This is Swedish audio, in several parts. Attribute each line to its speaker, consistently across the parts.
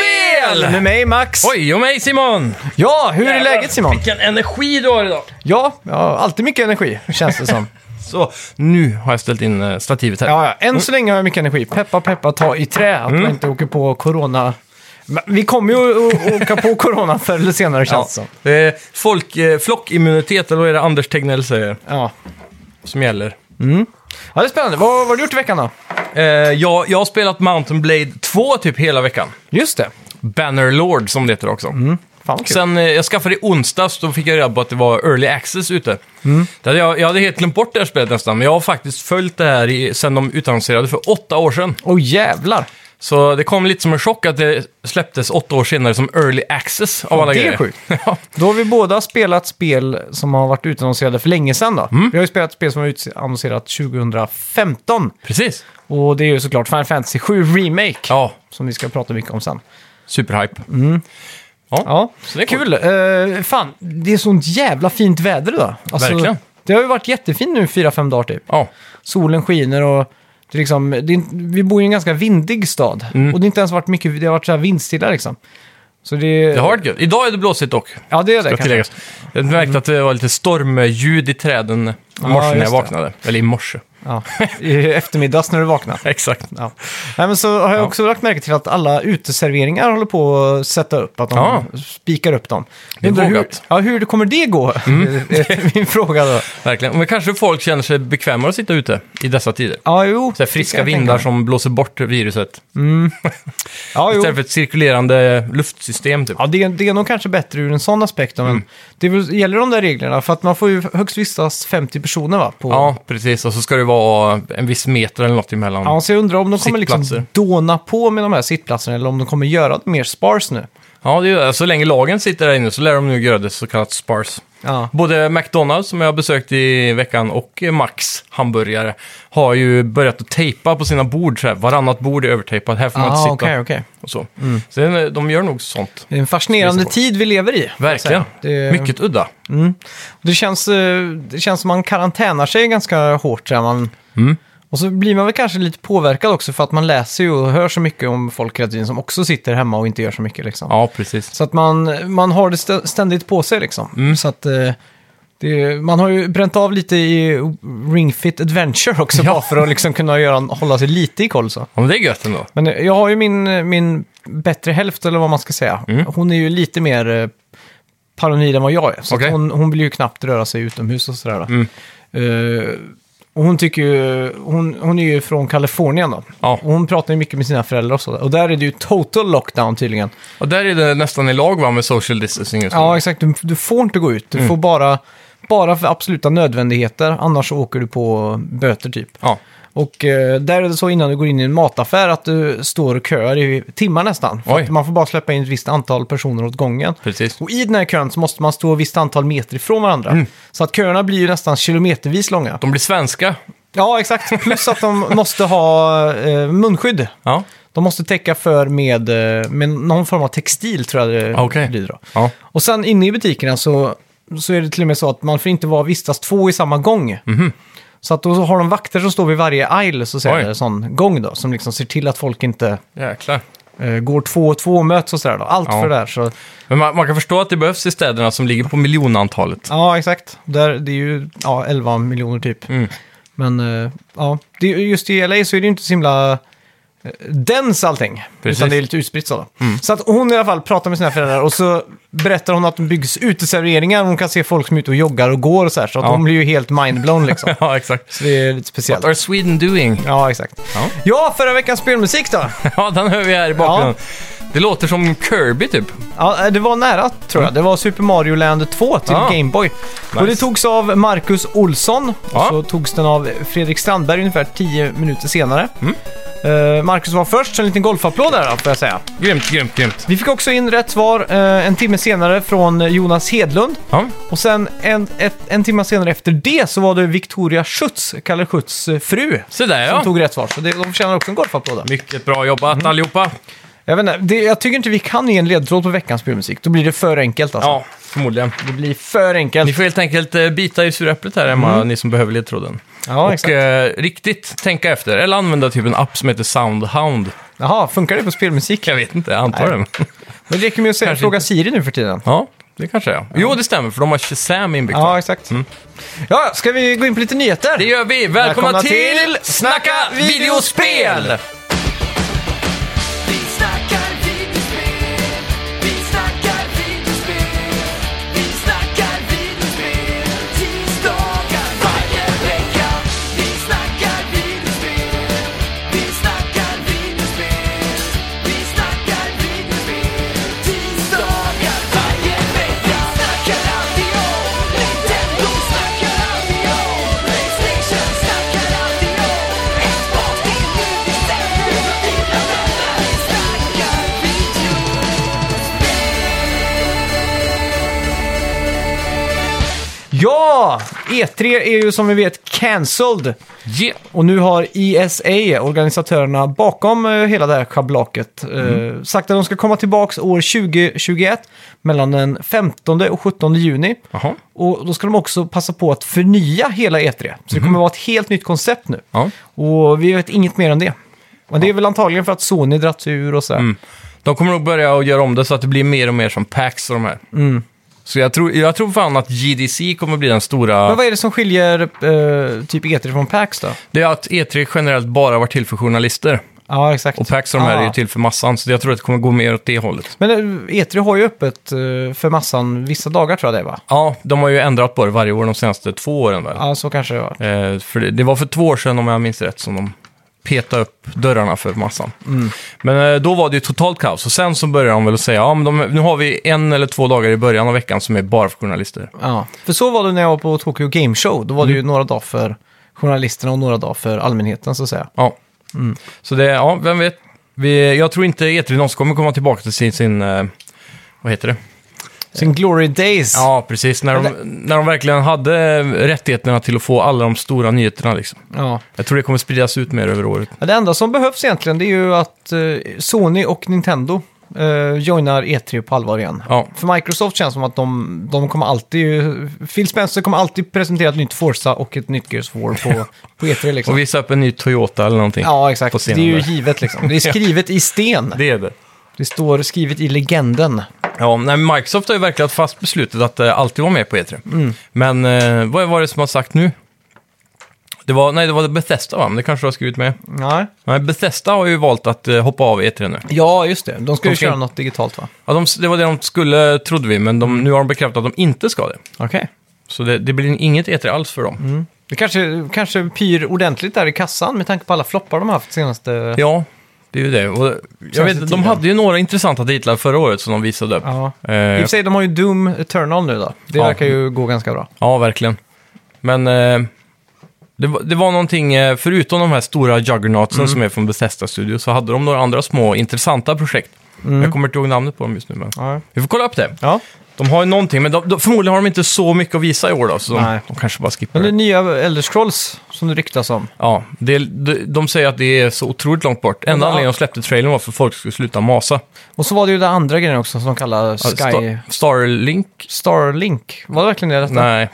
Speaker 1: Mikael!
Speaker 2: Med mig Max.
Speaker 1: Oj, och mig Simon!
Speaker 2: Ja, hur är
Speaker 1: Jävlar,
Speaker 2: läget Simon?
Speaker 1: Vilken energi du har idag!
Speaker 2: Ja, jag har alltid mycket energi, känns det som.
Speaker 1: Så, nu har jag ställt in eh, stativet här.
Speaker 2: Ja, ja. Än så länge har jag mycket energi. Peppa, peppa, ta i trä. Att
Speaker 1: Mm.
Speaker 2: man inte åker på corona. Men Vi kommer ju att åka på corona förr eller senare känns det som.
Speaker 1: Det är folk, eh, flockimmunitet, eller vad är det Anders Tegnell säger,
Speaker 2: Ja.
Speaker 1: som gäller.
Speaker 2: ja, det är spännande. Vad, vad har du gjort i veckan då?
Speaker 1: Eh, jag, jag har spelat Mountain Blade 2 typ hela veckan.
Speaker 2: Just det.
Speaker 1: Banner Lord som det heter också.
Speaker 2: Fan vad Mm, kul.
Speaker 1: Sen eh, jag skaffade det i onsdags, då fick jag reda på att det var early access ute.
Speaker 2: Mm.
Speaker 1: Det hade jag, jag hade helt glömt bort det här spelet nästan, men jag har faktiskt följt det här i, sen de utannonserade för åtta år sedan.
Speaker 2: Åh jävlar.
Speaker 1: Så det kom lite som en chock att det släpptes åtta år senare som early access av alla
Speaker 2: det är
Speaker 1: grejer.
Speaker 2: sjukt.
Speaker 1: ja.
Speaker 2: Då har vi båda spelat spel som har varit utannonserade för länge sedan då.
Speaker 1: Mm.
Speaker 2: Vi har ju spelat spel som var utannonserat 2015.
Speaker 1: Precis.
Speaker 2: Och det är ju såklart Final Fantasy 7 Remake.
Speaker 1: Ja,
Speaker 2: Som vi ska prata mycket om sen.
Speaker 1: superhype.
Speaker 2: Ja,
Speaker 1: Så det är
Speaker 2: kul. Eh, fan, det är sånt jävla fint väder idag. Alltså,
Speaker 1: Verkligen.
Speaker 2: Det har ju varit jättefint nu fyra, fem dagar typ.
Speaker 1: Ja.
Speaker 2: Solen skiner och det är liksom, det är, inte- vi bor i en ganska vindig stad.
Speaker 1: Mm.
Speaker 2: Och det har inte ens varit mycket, det har varit så här vindstilla liksom. Så det,
Speaker 1: Det har varit gött. Idag är det blåsigt dock.
Speaker 2: Ja, det är det
Speaker 1: Jag,
Speaker 2: kanske.
Speaker 1: tilläggas. jag märkte att det var lite stormljud i träden i morse när jag
Speaker 2: just det.
Speaker 1: vaknade. Eller i morse.
Speaker 2: Ja, I eftermiddags när du vaknar.
Speaker 1: Exakt.
Speaker 2: Ja. Nej, men så har jag också lagt märke till att alla uteserveringar håller på att sätta upp, att de
Speaker 1: Ja.
Speaker 2: spikar upp dem.
Speaker 1: Det är
Speaker 2: Undrar hur,
Speaker 1: vågat. Mm.
Speaker 2: ja, hur kommer det gå? Det är Min fråga då.
Speaker 1: Verkligen. Men kanske folk känner sig bekvämare att sitta ute i dessa tider.
Speaker 2: Ja, jo.
Speaker 1: Så här
Speaker 2: det kan
Speaker 1: friska
Speaker 2: jag tänka
Speaker 1: vindar
Speaker 2: mig.
Speaker 1: som blåser bort viruset.
Speaker 2: Ja, jo.
Speaker 1: Istället för ett cirkulerande luftsystem typ.
Speaker 2: Ja, det, är- det är nog kanske bättre ur en sån aspekt. Men
Speaker 1: Mm.
Speaker 2: det är väl- gäller de där reglerna, för att man får ju högst vistas 50 personer va? På,
Speaker 1: Ja, precis. Och så ska det vara en viss meter eller något emellan.
Speaker 2: Ja, så jag undrar om de kommer liksom
Speaker 1: Sittplatser.
Speaker 2: dåna på med de här sittplatserna eller om de kommer göra det mer spars nu.
Speaker 1: Ja, det gör jag. Så länge lagen sitter där inne så lär de nu göra det så kallat spars.
Speaker 2: Ja.
Speaker 1: Både McDonalds som jag besökt i veckan och Max hamburgare har ju börjat att tejpa på sina bord. Så här. Varannat bord är övertejpat, här får man inte
Speaker 2: Ah, Mm.
Speaker 1: sitta.
Speaker 2: okay, okay.
Speaker 1: Och så. så det- de gör nog sånt.
Speaker 2: Det är en fascinerande
Speaker 1: Det är så.
Speaker 2: tid vi lever i. kan jag
Speaker 1: Verkligen.
Speaker 2: säga. Det,
Speaker 1: Mycket udda.
Speaker 2: det, känns, eh, det känns som man karantänar sig ganska hårt. Så här. man, Och så blir man väl kanske lite påverkad också för att man läser ju och hör så mycket om folk hela tiden som också sitter hemma och inte gör så mycket. Liksom.
Speaker 1: Ja, precis.
Speaker 2: Så att man, man har det stä- ständigt på sig liksom. Så att eh, det, man har ju bränt av lite i Ring Fit Adventure också bara för att liksom kunna göra, hålla sig lite i koll så.
Speaker 1: Ja, men det är gött ändå.
Speaker 2: Men eh, jag har ju min, min bättre hälft eller vad man ska säga.
Speaker 1: Mm.
Speaker 2: Hon är ju lite mer eh, paranoid än vad jag är. Så
Speaker 1: Okej. Mm.
Speaker 2: att hon, hon vill ju knappt röra sig utomhus och sådär. Då. Eh, och hon, tycker ju, hon, hon är ju från Kalifornien då.
Speaker 1: Ja.
Speaker 2: Och hon pratar ju mycket med sina föräldrar och sådär. Och där är det ju total lockdown tydligen.
Speaker 1: Och där är det nästan i lag va, med social distancing just nu.
Speaker 2: Ja, exakt. Du, du får inte gå
Speaker 1: Mm.
Speaker 2: ut. Du får bara, bara för absoluta nödvändigheter, annars så åker du på böter typ.
Speaker 1: ja.
Speaker 2: Och eh, där är det så innan du går in i en mataffär att du står och köar i timmar nästan. För
Speaker 1: Oj.
Speaker 2: att man får bara släppa in ett visst antal personer åt gången.
Speaker 1: precis.
Speaker 2: Och i den här kön så måste man stå ett visst antal meter ifrån varandra.
Speaker 1: Mm.
Speaker 2: Så att köerna blir ju nästan kilometervis långa.
Speaker 1: De blir svenska.
Speaker 2: Ja, exakt. Plus att de måste ha eh, munskydd.
Speaker 1: Ja,
Speaker 2: De måste täcka för med, eh, med någon form av textil tror jag det
Speaker 1: Ah, Okej.
Speaker 2: blir då.
Speaker 1: ja.
Speaker 2: Och sen inne i butikerna så, så är det till och med så att man får inte vara vistas två i samma gång. Så att då har de vakter som står vid varje aisle, så säger
Speaker 1: Mhm. Oj.
Speaker 2: det, sån gång då, som liksom ser till att folk inte
Speaker 1: jäklar.
Speaker 2: eh, går två och två och möts och sådär då. Allt
Speaker 1: Ja.
Speaker 2: för det där. Så,
Speaker 1: Men man, man kan förstå att det behövs i städerna som ligger på miljonantalet.
Speaker 2: ja, exakt. Där, det är ju ja, 11 miljoner typ.
Speaker 1: Mm.
Speaker 2: Men eh, ja, det, just i LA så är det ju inte så himla eh, dens allting.
Speaker 1: Precis. Mm.
Speaker 2: Utan det är lite utspritt så. Då. Så att hon i alla fall pratar med sina föräldrar och så berättar hon att de byggs uteserveringar och hon kan se folk som är ute och joggar och går och så här. Så att
Speaker 1: Ja.
Speaker 2: hon blir ju helt mindblown liksom.
Speaker 1: Ja, exakt.
Speaker 2: Så det är lite speciellt.
Speaker 1: What are Sweden doing?
Speaker 2: Ja, exakt.
Speaker 1: Ja.
Speaker 2: Ja, förra veckans spelmusik då.
Speaker 1: Ja, den hör vi här i bakgrunden. Det låter som Kirby typ.
Speaker 2: Ja, eh, det var nära tror jag. Det var Super Mario Land 2 till
Speaker 1: Mm. Ja.
Speaker 2: Gameboy. Och det
Speaker 1: Nice.
Speaker 2: togs av Marcus Olsson och
Speaker 1: Ja.
Speaker 2: så togs den av Fredrik Strandberg ungefär 10 minuter senare.
Speaker 1: Mm.
Speaker 2: Eh, Marcus var först, så en liten golfapplåd där då, får jag säga.
Speaker 1: Grymt, grymt, grymt.
Speaker 2: Vi fick också in rätt svar eh, en timme senare från Jonas Hedlund.
Speaker 1: Ja,
Speaker 2: Och sen en, ett, en timme senare efter det så var det Victoria Schütz, Kalle Schütz eh, fru,
Speaker 1: så där
Speaker 2: som
Speaker 1: ja.
Speaker 2: tog Mm. rätt svar. Så det, de förtjänar också en golfapplåd. där.
Speaker 1: Mycket bra jobbat allihopa.
Speaker 2: Jag, vet inte, det, jag tycker inte vi kan ge en ledtråd på veckans spelmusik. Då blir det för enkelt alltså.
Speaker 1: Ja, förmodligen.
Speaker 2: Det blir för enkelt.
Speaker 1: Ni får helt enkelt eh, bita i suräpplet här hemma, ni som behöver ledtråden.
Speaker 2: Mm. Ja,
Speaker 1: och
Speaker 2: exakt.
Speaker 1: eh, riktigt tänka efter, eller använda typ en app som heter Soundhound.
Speaker 2: Jaha, funkar det på spelmusik?
Speaker 1: Jag vet inte, jag antar det.
Speaker 2: Men det räcker med att säga,
Speaker 1: Kanske
Speaker 2: fråga Siri nu för tiden.
Speaker 1: Ja, det kanske är. Jo, det stämmer, för de har Shazam inbyggt.
Speaker 2: Ja, exakt. Ja, ska vi gå in på lite nyheter?
Speaker 1: Mm. Det gör vi. Välkomna,
Speaker 2: Välkomna
Speaker 1: till
Speaker 2: till
Speaker 1: Snacka videospel!
Speaker 3: Vi snackar videospel, vi snackar videospel, vi snackar videospel, tisdagar varje vecka. Vi snackar videospel, vi snackar videospel, vi snackar videospel, tisdagar varje vecka. Snackar alltid om Nintendo, snackar alltid om Playstation, snackar alltid om Xbox, det är nu vi sänder för dina vänner. Vi snackar video.
Speaker 2: Ja! E3 är ju som vi vet cancelled.
Speaker 1: Yeah.
Speaker 2: Och nu har ESA, organisatörerna bakom eh, hela det här schablaket, eh,
Speaker 1: Mm.
Speaker 2: sagt att de ska komma tillbaka år 2021 mellan den 15 och 17 juni.
Speaker 1: Jaha.
Speaker 2: Och då ska de också passa på att förnya hela E3. Så
Speaker 1: Mm-hmm.
Speaker 2: det kommer vara ett helt nytt koncept nu.
Speaker 1: Ja.
Speaker 2: Och vi vet inget mer om det. Men det är väl antagligen för att Sony dratt sig ur och sådär.
Speaker 1: Mm. De kommer nog börja att göra om det så att det blir mer och mer som PAX och de här.
Speaker 2: Mm.
Speaker 1: Så jag tror, jag tror fan att GDC kommer bli den stora...
Speaker 2: Men vad är det som skiljer eh, typ E3 från PAX då?
Speaker 1: Det är att E3 generellt bara var till för journalister.
Speaker 2: Ja, exakt.
Speaker 1: Och PAX och de här
Speaker 2: Ah.
Speaker 1: är ju till för massan, så jag tror att det kommer gå mer åt det hållet.
Speaker 2: Men eh, E3 har ju öppet eh, för massan vissa dagar tror jag det är va?
Speaker 1: Ja, de har ju ändrat på det varje år de senaste två åren väl?
Speaker 2: Ja, så kanske det var.
Speaker 1: Eh, för det, det var för två år sedan, om jag minns rätt, som de petade upp dörrarna för massan.
Speaker 2: Mm.
Speaker 1: Men eh, då var det ju totalt kaos. Och sen så började de väl att säga, ja men de, nu har vi en eller två dagar i början av veckan som är bara för journalister.
Speaker 2: Ja. För så var det när jag var på Tokyo Game Show. Då var
Speaker 1: Mm.
Speaker 2: det ju några dagar för journalisterna och några dagar för allmänheten så att säga.
Speaker 1: Ja. Så det, ja, vem vet. Vi, jag tror inte E3 någonsin kommer komma tillbaka till sin, sin eh, vad heter det?
Speaker 2: Sin Glory Days.
Speaker 1: Ja, precis. När de, när de verkligen hade rättigheterna till att få alla de stora nyheterna liksom.
Speaker 2: Ja.
Speaker 1: Jag tror det kommer spridas ut mer över året.
Speaker 2: Ja, Det enda som behövs egentligen det är ju att eh, Sony och Nintendo eh, joinar E3 på allvar igen.
Speaker 1: Ja.
Speaker 2: För Microsoft känns som att de, de kommer alltid... Phil Spencer kommer alltid presentera ett nytt Forza och ett nytt Gears of War på, på E3 liksom.
Speaker 1: Och visa upp en ny Toyota eller någonting.
Speaker 2: Ja,
Speaker 1: på
Speaker 2: exakt. Det är
Speaker 1: scenen
Speaker 2: ju
Speaker 1: där.
Speaker 2: givet liksom. Det är skrivet i sten.
Speaker 1: Det är det.
Speaker 2: Det står skrivet i legenden.
Speaker 1: Ja, nej, Microsoft har ju verkligen haft fast beslutet att eh, alltid vara med på E3. Men eh, vad var det som har sagt nu? Det var, nej, det var Bethesda va? Men det kanske du har skrivit med.
Speaker 2: Nej.
Speaker 1: Nej, Bethesda har ju valt att eh, hoppa av E3 nu.
Speaker 2: Ja, just det. De ska ju
Speaker 1: Okej.
Speaker 2: köra något digitalt va?
Speaker 1: Ja, de, det var det de skulle, trodde vi, men
Speaker 2: Mm.
Speaker 1: de, nu har de bekräftat att de inte ska det.
Speaker 2: Okej.
Speaker 1: Så det, det blir inget E3 alls för dem.
Speaker 2: Det kanske, kanske pyr ordentligt där i kassan med tanke på alla floppar de har haft senaste...
Speaker 1: Ja, det är ju det. Och, jag vet, de
Speaker 2: tiden.
Speaker 1: hade ju några intressanta titlar förra året som de visade upp.
Speaker 2: Ja. I och
Speaker 1: Eh,
Speaker 2: för sig, de har ju Doom Eternal nu då. Det
Speaker 1: Ja.
Speaker 2: verkar ju gå ganska bra.
Speaker 1: Ja, verkligen. Men eh, det, var- det var någonting, eh, förutom de här stora
Speaker 2: Mm.
Speaker 1: juggernautsen som är från Bethesda Studio, så hade de några andra små intressanta projekt.
Speaker 2: Mm.
Speaker 1: Jag kommer inte ihåg namnet på dem just nu, men
Speaker 2: Ja.
Speaker 1: vi får kolla upp det.
Speaker 2: ja.
Speaker 1: De har ju någonting, men de, de, förmodligen har de inte så mycket att visa i år då, så de,
Speaker 2: Nej.
Speaker 1: de kanske bara skippar
Speaker 2: Men det
Speaker 1: det.
Speaker 2: nya Elder Scrolls som det ryktas om.
Speaker 1: Ja, det, de, de säger att det är så otroligt långt bort. Enda
Speaker 2: Ja.
Speaker 1: anledningen de släppte trailern var för att folk skulle sluta masa. Alltså,
Speaker 2: Och så var det ju den andra grejen också som de kallar Sky...
Speaker 1: Star, Starlink?
Speaker 2: Starlink. Var det verkligen det detta?
Speaker 1: Nej.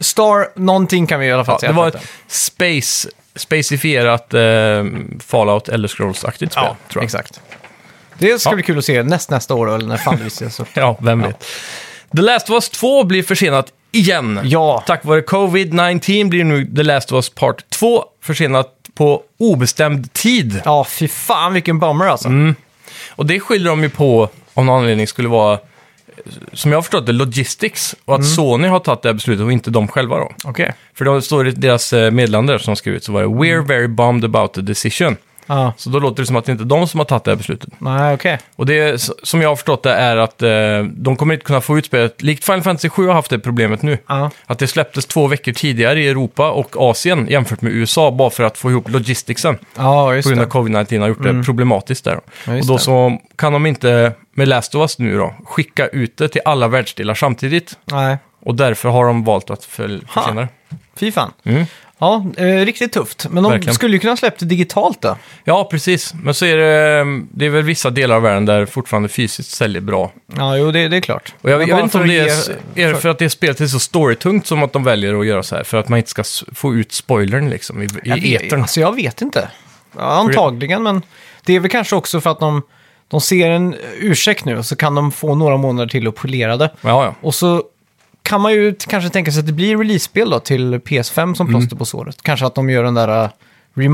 Speaker 2: Star någonting kan vi i alla fall
Speaker 1: Ja,
Speaker 2: säga.
Speaker 1: det var
Speaker 2: att
Speaker 1: ett space, spacifierat eh, Fallout eller Scrolls-aktigt spel,
Speaker 2: Ja,
Speaker 1: tror jag.
Speaker 2: exakt. Det ska
Speaker 1: Ja.
Speaker 2: bli kul att se näst, nästa år då, eller när fan det visas upp.
Speaker 1: Ja, vem vet. The Last of Us 2 blir försenat igen.
Speaker 2: Ja,
Speaker 1: Tack vare Covid-19 blir nu The Last of Us Part 2 försenat på obestämd tid.
Speaker 2: ja fy fan vilken bummer alltså.
Speaker 1: Mm. Och det skyller de ju på, om någon anledning skulle vara, eh, som jag har förstått det, Logistics. Och att Sony har tagit det här beslutet och inte de själva då.
Speaker 2: Okej.
Speaker 1: För det står i deras eh, meddelande där som de skrivit så var det “We're very bummed about the decision”.
Speaker 2: Ja.
Speaker 1: Så då låter det som att det inte är de som har tagit det här beslutet.
Speaker 2: Nej, okej.
Speaker 1: Och det s- som jag har förstått det är att eh, de kommer inte kunna få ut spelet. Likt Final Fantasy 7 har haft det problemet nu.
Speaker 2: Ja.
Speaker 1: Att det släpptes två veckor tidigare i Europa och Asien jämfört med USA bara för att få ihop logisticsen.
Speaker 2: Ja, just
Speaker 1: På grund av
Speaker 2: det. Mm.
Speaker 1: covid-19 har gjort det problematiskt där.
Speaker 2: Ja, just
Speaker 1: och då
Speaker 2: det.
Speaker 1: så kan de inte, med Last of Us nu då, skicka ut det till alla världsdelar samtidigt.
Speaker 2: Nej,
Speaker 1: Och därför har de valt att föl-
Speaker 2: Ha.
Speaker 1: försena det.
Speaker 2: fy fan.
Speaker 1: Mm.
Speaker 2: Ja, eh, riktigt tufft. Men de
Speaker 1: Verkligen.
Speaker 2: skulle ju kunna släppt det digitalt då.
Speaker 1: Ja, precis. Men så är det, det är väl vissa delar av världen där fortfarande fysiskt säljer bra.
Speaker 2: Ja, jo, det, det är klart.
Speaker 1: Och jag,
Speaker 2: Men
Speaker 1: jag
Speaker 2: bara
Speaker 1: vet inte om
Speaker 2: för
Speaker 1: det är,
Speaker 2: att
Speaker 1: s- är det för att det spelet är så storytungt som att de väljer att göra så här. För att man inte ska s- få ut spoilern liksom i,
Speaker 2: Jag
Speaker 1: i
Speaker 2: vet,
Speaker 1: etern.
Speaker 2: alltså jag vet inte. Ja, antagligen, men det är väl kanske också för att de, De ser en ursäkt nu och så kan de få några månader till att polera det.
Speaker 1: Ja, ja.
Speaker 2: Och så kan man ju t- kanske tänka sig att det blir release-spel då till PS5 som plåster på såret. Kanske att de gör den där äh,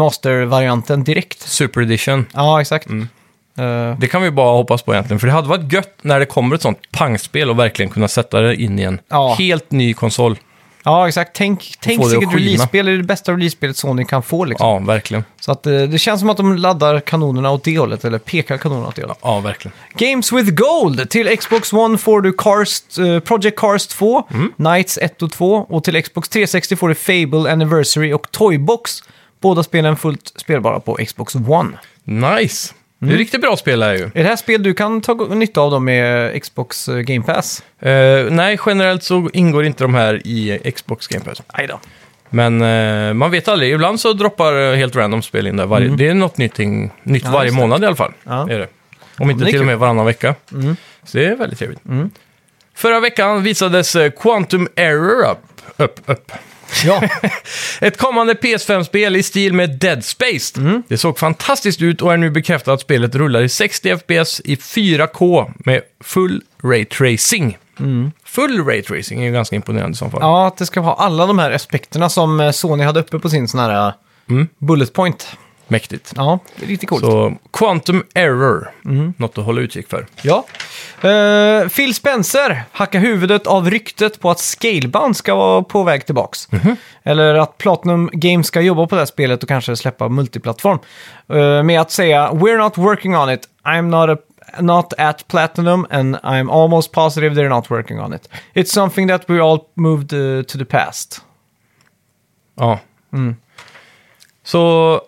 Speaker 2: remaster-varianten direkt.
Speaker 1: Super Edition.
Speaker 2: Ja, exakt. Eh,
Speaker 1: Det kan vi bara hoppas på egentligen, för det hade varit gött när det kommer ett sånt pangspel och verkligen kunna sätta det in i en
Speaker 2: Ja.
Speaker 1: helt ny konsol.
Speaker 2: ja, exakt. Tänk, tänk
Speaker 1: få det
Speaker 2: sig
Speaker 1: att
Speaker 2: ett
Speaker 1: skina.
Speaker 2: release-spel. Det är det bästa release-spelet Sony kan få liksom.
Speaker 1: Ja, verkligen.
Speaker 2: Så att, eh, det känns som att de laddar kanonerna åt det hållet, eller pekar kanonerna åt det hållet.
Speaker 1: Ja, verkligen.
Speaker 2: Games with Gold! Till Xbox One får du Cars, eh, Project Cars 2, Knights 1 och 2 och till Xbox 360 får du Fable Anniversary och Toybox. Båda spelen fullt spelbara på Xbox One.
Speaker 1: Nice!
Speaker 2: Mm.
Speaker 1: Det är riktigt bra spel det här ju.
Speaker 2: Är det här spel du kan ta go- nytta av då med eh, Xbox eh, Game Pass?
Speaker 1: Eh, nej, generellt så ingår inte de här i Xbox Game Pass.
Speaker 2: Nej då.
Speaker 1: Men eh, man vet aldrig. Ibland så droppar eh, helt random spel in där. Varje, Det är något nytt, ting, nytt
Speaker 2: Mm. Ja,
Speaker 1: varje
Speaker 2: just det.
Speaker 1: månad i alla fall.
Speaker 2: Ja.
Speaker 1: Är det. Om inte
Speaker 2: det är
Speaker 1: till och
Speaker 2: kul. Mm.
Speaker 1: med varannan vecka. Så det är väldigt trevligt. Förra veckan visades eh, Quantum Error upp. upp, upp.
Speaker 2: Ja,
Speaker 1: Ett kommande PS5-spel i stil med Dead Space.
Speaker 2: Mm.
Speaker 1: Det såg fantastiskt ut och är nu bekräftat att spelet rullar i 60 FPS i 4K med full ray tracing. Full ray tracing är ju ganska imponerande i så fall.
Speaker 2: Mm. ja att det ska ha alla de här aspekterna som eh, Sony hade uppe på sin sån här mm. bullet point.
Speaker 1: Mäktigt.
Speaker 2: Ja, det är riktigt coolt. Mm.
Speaker 1: Så Quantum Error, något att hålla utkik för.
Speaker 2: Ja. Eh, Phil Spencer hackar huvudet av ryktet på att Scalebound ska vara på väg tillbaks. Eller att Platinum Games ska jobba på det här spelet och kanske släppa multiplattform. Eh, med att säga “We're not working on it. I'm not, a, not at Platinum and I'm almost positive they're not working on it. It's something that we all moved eh, to the past.”
Speaker 1: Ja.
Speaker 2: Mm.
Speaker 1: Så...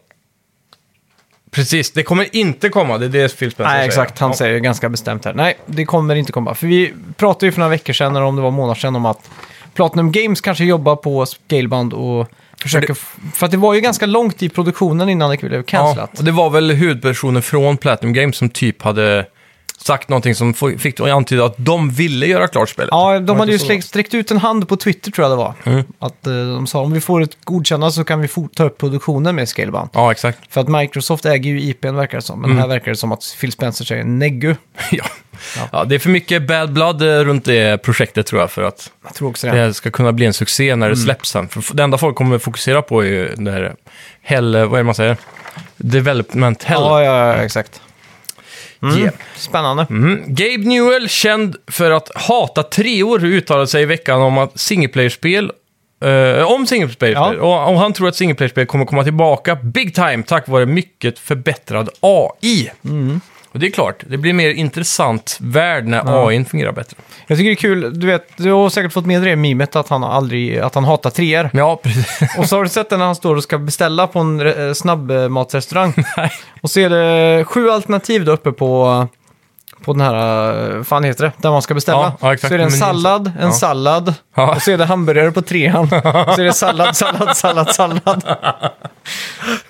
Speaker 1: Precis, det kommer inte komma, det är det Phil Spencer
Speaker 2: Nej,
Speaker 1: säger.
Speaker 2: exakt. Han
Speaker 1: Ja.
Speaker 2: säger ju ganska bestämt här. Nej, det kommer inte komma. För vi pratade ju för några veckor sedan, eller om det var månader sedan, om att Platinum Games kanske jobbar på Scaleband och försöker... För att det var ju ganska långt i produktionen innan det blev
Speaker 1: Ja,
Speaker 2: cancelat.
Speaker 1: och det var väl huvudpersonen från Platinum Games som typ hade sagt någonting som få- fick och antydde att de ville göra klart spelet.
Speaker 2: Ja, de hade ju
Speaker 1: inte så Mm.
Speaker 2: sträckt, sträckt ut en hand på Twitter tror jag det var. Att eh, de sa om vi får ett godkännande så kan vi fort ta upp produktionen med Scaleband.
Speaker 1: Ja, exakt.
Speaker 2: För att Microsoft äger ju IPn verkar det som. Men
Speaker 1: Mm.
Speaker 2: här verkar det som att Phil Spencer säger neggu.
Speaker 1: ja. Ja, det är för mycket bad blood eh, runt det projektet tror jag för att
Speaker 2: Jag tror också
Speaker 1: det
Speaker 2: det.
Speaker 1: här ska kunna bli en succé när det släpps sen. För f- det enda folk kommer fokusera på är ju när hell, eh, vad är det man säger? Development hell.
Speaker 2: Ja, ja, ja, exakt.
Speaker 1: Yeah.
Speaker 2: Spännande.
Speaker 1: Mm. Gabe Newell, känd för att hata treor, uttalade sig i veckan om att singleplayerspel eh, om singleplayerspel.
Speaker 2: Ja.
Speaker 1: Och, och han tror att singleplayerspel kommer komma tillbaka big time tack vare mycket förbättrad AI. Och det är klart, det blir mer intressant värld när AI fungerar bättre.
Speaker 2: Jag tycker det är kul, du vet, du har säkert fått med dig det mimet att han, aldrig, att han hatar treor.
Speaker 1: Ja, precis.
Speaker 2: Och så har du sett den när han står och ska beställa på en re- eh, snabbmatsrestaurang. Och så är det sju alternativ då uppe på, på den här, eh, fan heter det, där man ska beställa.
Speaker 1: Ja, ja, exakt.
Speaker 2: så är det en
Speaker 1: Menyn.
Speaker 2: sallad, en
Speaker 1: Ja.
Speaker 2: sallad,
Speaker 1: Ja.
Speaker 2: och så är det hamburgare på trean. så är det sallad, sallad, sallad, sallad.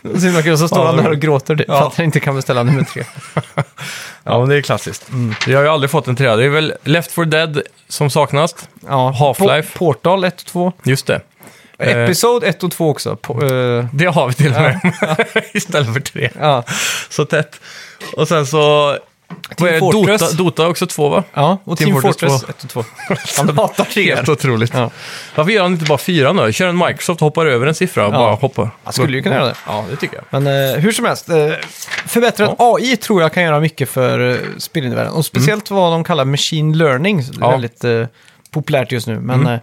Speaker 2: Så himla kul, så står
Speaker 1: Ja,
Speaker 2: han
Speaker 1: det-
Speaker 2: där och gråter typ, för
Speaker 1: Ja.
Speaker 2: att han inte kan beställa nummer tre.
Speaker 1: ja, men det är klassiskt. Jag Mm. har ju aldrig fått en trea. Det är väl Left 4 Dead som saknas.
Speaker 2: Ja,
Speaker 1: Half-Life.
Speaker 2: Po- Portal 1 och 2.
Speaker 1: Just det. Eh.
Speaker 2: Episod 1 och 2 också. Po- eh,
Speaker 1: Det har vi till och med. Istället för tre.
Speaker 2: ja.
Speaker 1: Så tätt. Och sen så...
Speaker 2: Team
Speaker 1: Vad är det?
Speaker 2: Fortress.
Speaker 1: Dota, Dota är också två, va?
Speaker 2: Ja, och
Speaker 1: Team
Speaker 2: Team,
Speaker 1: Fortress
Speaker 2: Fortress 1 och 2. Han hatar treor.
Speaker 1: Helt otroligt.
Speaker 2: Ja.
Speaker 1: Varför gör han inte bara fyra nu? Kör en Microsoft, hoppar över en siffra och
Speaker 2: Ja.
Speaker 1: bara hoppar.
Speaker 2: Han skulle ju kunna göra det.
Speaker 1: Ja, det tycker jag.
Speaker 2: Men eh, hur som helst, eh, förbättrad AI tror jag kan göra mycket för eh, spelindividen. Och speciellt vad de kallar machine learning. Så det är
Speaker 1: Mm. Ja. Mm.
Speaker 2: väldigt eh, populärt just nu. Men eh,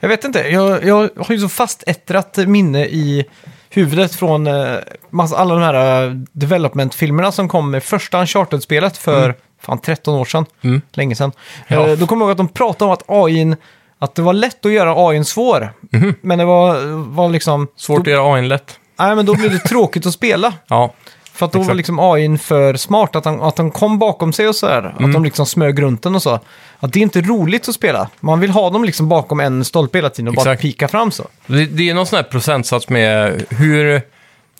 Speaker 2: jag vet inte, jag, jag har ju så fast ettrat minne i huvudet från eh, massa, alla de här eh, development-filmerna som kom med första Uncharted-spelet för fan 13 år sedan. Länge sedan.
Speaker 1: Mm. Ja.
Speaker 2: Eh, då kommer jag ihåg att de pratade om att AI att det var lätt att göra AI svår. Men det var, var liksom...
Speaker 1: Mhm. Svårt att göra AI lätt.
Speaker 2: Nej, men då blev det tråkigt att spela.
Speaker 1: Ja,
Speaker 2: För att då var
Speaker 1: Exakt.
Speaker 2: liksom AI för smart, att han, att han kom bakom sig och så här. Att
Speaker 1: Mm.
Speaker 2: de liksom smög runt den och så. Att det är inte roligt att spela. Man vill ha dem liksom bakom en stolpe hela tiden och bara
Speaker 1: Exakt.
Speaker 2: pika fram så.
Speaker 1: det, det är någon sån här procentsats med hur...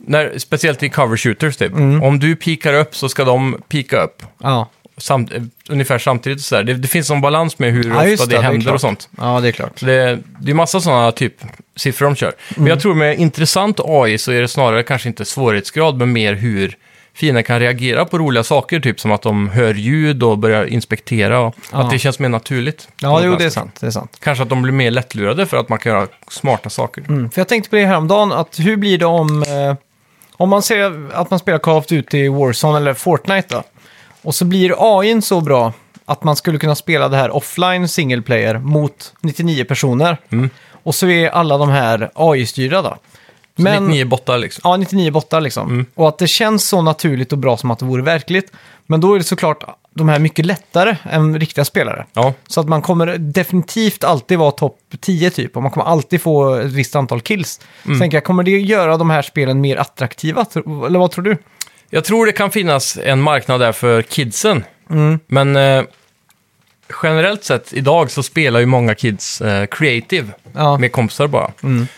Speaker 1: När, speciellt i cover shooters typ.
Speaker 2: Mm.
Speaker 1: Om du pikar upp så ska de pika upp.
Speaker 2: Ja,
Speaker 1: Samt, eh, ungefär samtidigt sådär. Det, det finns någon balans med hur
Speaker 2: ja
Speaker 1: ofta det,
Speaker 2: är
Speaker 1: händer
Speaker 2: klart.
Speaker 1: och sånt.
Speaker 2: Ja, det är klart.
Speaker 1: Så Det, det är massa sådana typ
Speaker 2: Mm.
Speaker 1: siffror de kör. Men jag tror med intressant AI så är det snarare kanske inte svårighetsgrad, men mer hur fienden kan reagera på roliga saker, typ som att de hör ljud och börjar inspektera. Och
Speaker 2: Ja.
Speaker 1: Att det känns mer naturligt.
Speaker 2: Ja, jo, det är sant. Det är sant.
Speaker 1: Kanske att de blir mer lättlurade för att man kan göra smarta saker.
Speaker 2: Mm. För jag tänkte på det häromdagen, att hur blir det om... Eh, om man ser att man spelar Call of Duty, Warzone eller Fortnite då. Och så blir AIn så bra att man skulle kunna spela det här offline single player mot 99 personer. Och så är alla de här AI-styrda då.
Speaker 1: Men... 99 bottar liksom.
Speaker 2: Ja, 99 bottar liksom. Och att det känns så naturligt och bra som att det vore verkligt. Men då är det såklart de här mycket lättare än riktiga spelare.
Speaker 1: Ja,
Speaker 2: Så att man kommer definitivt alltid vara topp 10 typ och man kommer alltid få ett visst antal kills.
Speaker 1: Mm.
Speaker 2: Så tänker jag, kommer det göra de här spelen mer attraktiva? tro- Eller vad tror du?
Speaker 1: Jag tror det kan finnas en marknad där för kidsen.
Speaker 2: Mm.
Speaker 1: Men eh, generellt sett idag så spelar ju många kids eh, creative
Speaker 2: Ja. Mm.
Speaker 1: med kompisar bara.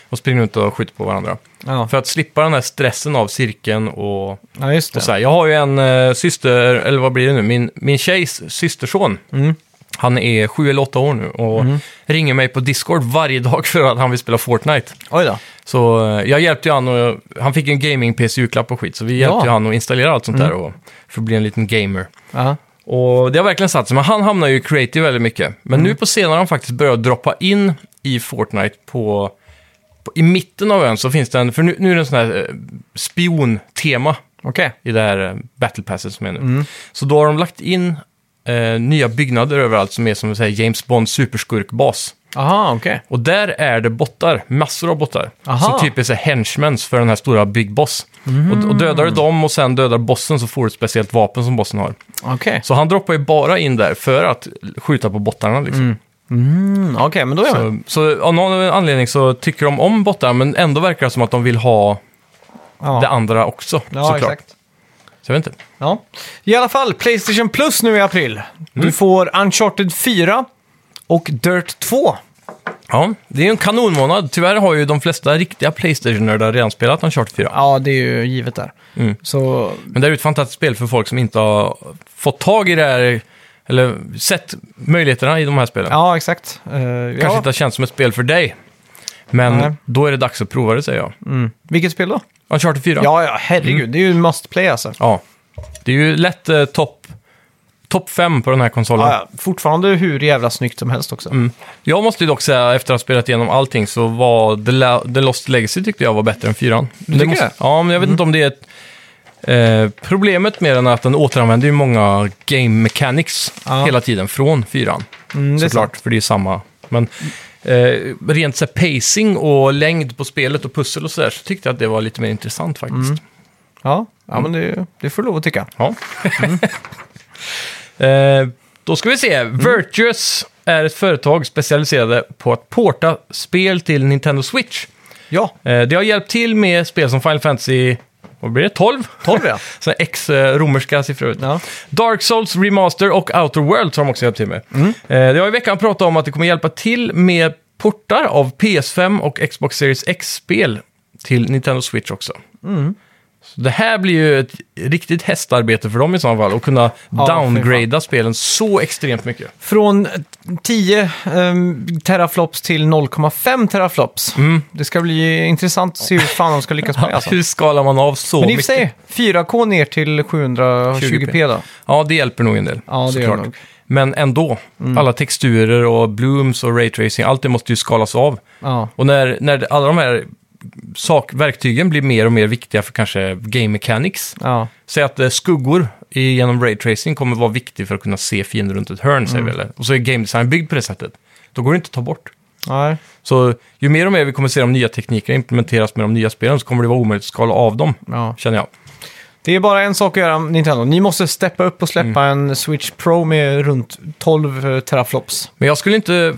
Speaker 1: Och springer runt och skjuter på varandra.
Speaker 2: Ja,
Speaker 1: För att slippa den här stressen av cirkeln och, och
Speaker 2: ja just det.
Speaker 1: så här. Jag har ju en eh, syster, eller vad blir det nu, min, min tjejs systerson.
Speaker 2: Mm.
Speaker 1: Han är sju eller åtta år nu och ringer mig på Discord varje dag för att han vill spela Fortnite.
Speaker 2: Oj då.
Speaker 1: Så eh, jag hjälpte ju han och han fick en gaming-PC julklapp och skit, så vi hjälpte
Speaker 2: Ja.
Speaker 1: ju han att installera allt sånt där och, för att bli en liten gamer.
Speaker 2: Ja.
Speaker 1: Och det har verkligen satt sig, men han hamnar ju i creative väldigt mycket. Men nu på senare har han faktiskt börjat droppa in i Fortnite på, på i mitten av ön så finns det en, för nu, nu är det en sån här eh, spiontema
Speaker 2: Okej.
Speaker 1: i det här eh, battle passet som är nu. Så då har de lagt in eh, nya byggnader överallt som är som vi säger James Bonds superskurkbas.
Speaker 2: Aha, okej.
Speaker 1: Och där är det bottar, massor av bottar.
Speaker 2: Aha.
Speaker 1: Som typ är så här henchmans för den här stora Big Boss. Och,
Speaker 2: Mm.
Speaker 1: och dödar du dem och sen dödar bossen så får du ett speciellt vapen som bossen har.
Speaker 2: Okej,
Speaker 1: Så han droppar ju bara in där för att skjuta på bottarna liksom.
Speaker 2: Mm, okej, men då är jag med.
Speaker 1: Så, så av någon anledning så tycker de om bottar men ändå verkar det som att de vill ha
Speaker 2: Ja,
Speaker 1: det andra också.
Speaker 2: ja
Speaker 1: såklart.
Speaker 2: exakt.
Speaker 1: Så jag vet inte.
Speaker 2: Ja. I alla fall, Playstation Plus nu i april. Du
Speaker 1: Mm.
Speaker 2: får Uncharted 4 och Dirt 2.
Speaker 1: Ja, det är ju en kanonmånad. Tyvärr har ju de flesta riktiga Playstation-nördar redan spelat Uncharted 4.
Speaker 2: Ja, det är ju givet där.
Speaker 1: Mm.
Speaker 2: Så,
Speaker 1: Men det är ju ett fantastiskt spel för folk som inte har fått tag i det här, eller sett möjligheterna i de här spelen.
Speaker 2: ja exakt. Eh,
Speaker 1: Kanske
Speaker 2: ja.
Speaker 1: inte har känts som ett spel för dig. Men
Speaker 2: Nej.
Speaker 1: då är det dags att prova det, säger jag.
Speaker 2: Vilket spel då?
Speaker 1: Uncharted 4.
Speaker 2: Ja, ja, herregud.
Speaker 1: Mm.
Speaker 2: Det är ju must play alltså.
Speaker 1: Ja. Det är ju lätt eh, topp top 5 på den här konsolen.
Speaker 2: Ja, ja. Fortfarande hur jävla snyggt som helst också.
Speaker 1: Mm. Jag måste ju dock säga, efter att ha spelat igenom allting, så var The, La- The Lost Legacy tyckte jag var bättre än 4.
Speaker 2: tycker det? Mm.
Speaker 1: Ja, men jag vet inte om det är ett... Eh, problemet med den är att den återanvänder ju många game mechanics
Speaker 2: Ja.
Speaker 1: hela tiden från 4.
Speaker 2: Mm, det är
Speaker 1: Såklart, för det är samma. Men eh, rent så här, pacing och längd på spelet och pussel och sådär så tyckte jag att det var lite mer intressant faktiskt.
Speaker 2: Mm. Ja, ja
Speaker 1: Mm.
Speaker 2: men det, det får du lov att tycka.
Speaker 1: Ja. eh, då ska vi se.
Speaker 2: Mm.
Speaker 1: Virtuous är ett företag specialiserade på att porta spel till Nintendo Switch.
Speaker 2: Ja,
Speaker 1: Eh, det har hjälpt till med spel som Final Fantasy... Vad blir det? 12?
Speaker 2: 12 ja.
Speaker 1: Så här X eh, romerska siffror. ut.
Speaker 2: Ja.
Speaker 1: Dark Souls Remaster och Outer Worlds har de också hjälpt till med. Mm. Det har i veckan pratat om att det kommer hjälpa till med portar av PS5 och Xbox Series X-spel till Nintendo Switch också.
Speaker 2: Mm.
Speaker 1: Så det här blir ju ett riktigt hästarbete för dem i så fall, att kunna
Speaker 2: Ja, fy
Speaker 1: downgrada spelen så extremt mycket.
Speaker 2: Från 10 ehm, teraflops till 0,5 teraflops.
Speaker 1: Mm.
Speaker 2: Det ska bli intressant att se hur fan de ska lyckas med alltså.
Speaker 1: Hur skalar man av så
Speaker 2: Men i och för
Speaker 1: mycket?
Speaker 2: sig, 4K ner till 720p då.
Speaker 1: Ja, det hjälper nog en del.
Speaker 2: Ja, det gör
Speaker 1: såklart.
Speaker 2: det nog. Mm.
Speaker 1: Men ändå, alla texturer och blooms och raytracing, allt det måste ju skalas av.
Speaker 2: Ja.
Speaker 1: Och när, när alla de här sak, verktygen blir mer och mer viktiga för kanske game mechanics.
Speaker 2: Ja.
Speaker 1: Säg att eh, skuggor i- genom raytracing kommer vara viktig för att kunna se fiender runt ett hörn, säger vi.
Speaker 2: Mm.
Speaker 1: Eller? Och så är game design byggd på det sättet. Då går det inte att ta bort.
Speaker 2: Nej.
Speaker 1: Så ju mer och mer vi kommer se de nya teknikerna implementeras med de nya spelen så kommer det vara omöjligt att skala av dem,
Speaker 2: Ja.
Speaker 1: känner jag.
Speaker 2: Det är bara en sak att göra, Nintendo. Ni måste steppa upp och släppa
Speaker 1: Mm.
Speaker 2: en Switch Pro med runt 12 teraflops.
Speaker 1: Men jag skulle inte...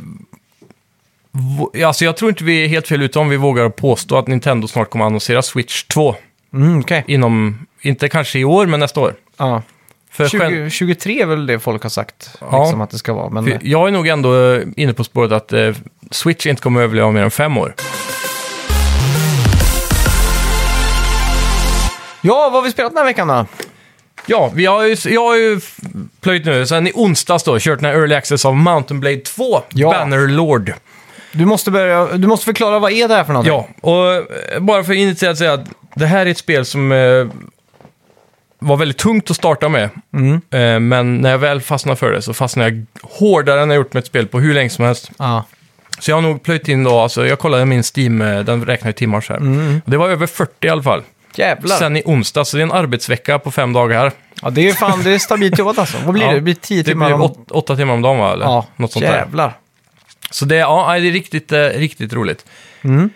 Speaker 1: vå- Alltså jag tror inte vi är helt fel ute om vi vågar påstå att Nintendo snart kommer att annonsera Switch 2.
Speaker 2: Mm, okej.
Speaker 1: Inom, inte kanske i år, men nästa år.
Speaker 2: Ja.
Speaker 1: För
Speaker 2: 20,
Speaker 1: gen-
Speaker 2: 23 är väl det folk har sagt
Speaker 1: Ja.
Speaker 2: liksom att det ska vara. Men,
Speaker 1: För jag är nog ändå eh, inne på spåret att eh, Switch inte kommer att överleva mer än fem år.
Speaker 2: Ja, vad har vi spelat den här veckan då?
Speaker 1: Ja, vi har ju, jag har ju f- plöjt nu, sen i onsdags då, kört den här Early Access av Mountain Blade 2,
Speaker 2: Ja.
Speaker 1: Bannerlord.
Speaker 2: Du måste, börja, du måste förklara vad är det här för någonting?
Speaker 1: Ja, och eh, bara för initierat säga att det här är ett spel som eh, var väldigt tungt att starta med.
Speaker 2: Mm.
Speaker 1: Eh, Men när jag väl fastnade för det så fastnade jag hårdare än jag gjort med ett spel på hur länge som helst.
Speaker 2: Ja.
Speaker 1: Så jag har nog plöjt in då, alltså jag kollade min Steam, eh, den räknar i timmar så här. Och Det var över 40 i alla fall.
Speaker 2: Mm. Jävlar.
Speaker 1: Sen i onsdag, så det är en arbetsvecka på fem dagar.
Speaker 2: Ja, det är fan det är stabilt jobbat alltså. Vad blir
Speaker 1: Ja.
Speaker 2: det? Det blir tio
Speaker 1: Det
Speaker 2: timmar
Speaker 1: blir
Speaker 2: om...
Speaker 1: åt, åtta timmar om dagen va? Eller?
Speaker 2: Ja,
Speaker 1: Något sånt där.
Speaker 2: jävlar.
Speaker 1: Så det, ja, nej, det är riktigt, eh, riktigt roligt.
Speaker 2: Mm.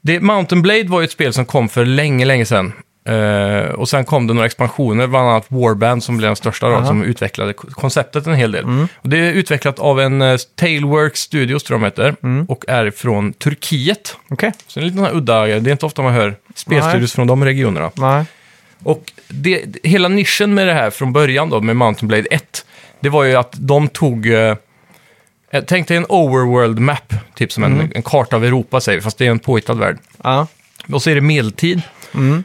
Speaker 1: Det, Mountain Blade var ju ett spel som kom för länge, länge sedan. Eh, och sen kom det några expansioner, bland annat Warband som blev den största då,
Speaker 2: Aha. Mm.
Speaker 1: som utvecklade ko- konceptet en hel del. Och det är utvecklat av en eh, Tailworks Studios, tror jag de heter,
Speaker 2: Mm.
Speaker 1: och är från Turkiet.
Speaker 2: Okej.
Speaker 1: Så det är en liten sån här udda, det är inte ofta man hör
Speaker 2: Nej.
Speaker 1: spelstudios från de regionerna.
Speaker 2: Nej.
Speaker 1: Och det, hela nischen med det här från början då, med Mountain Blade 1, det var ju att de tog... Eh, tänk dig en overworld map, typ som en, en karta av Europa säger vi, fast det är en påhittad värld.
Speaker 2: Ja. Mm.
Speaker 1: Och så är det medeltid,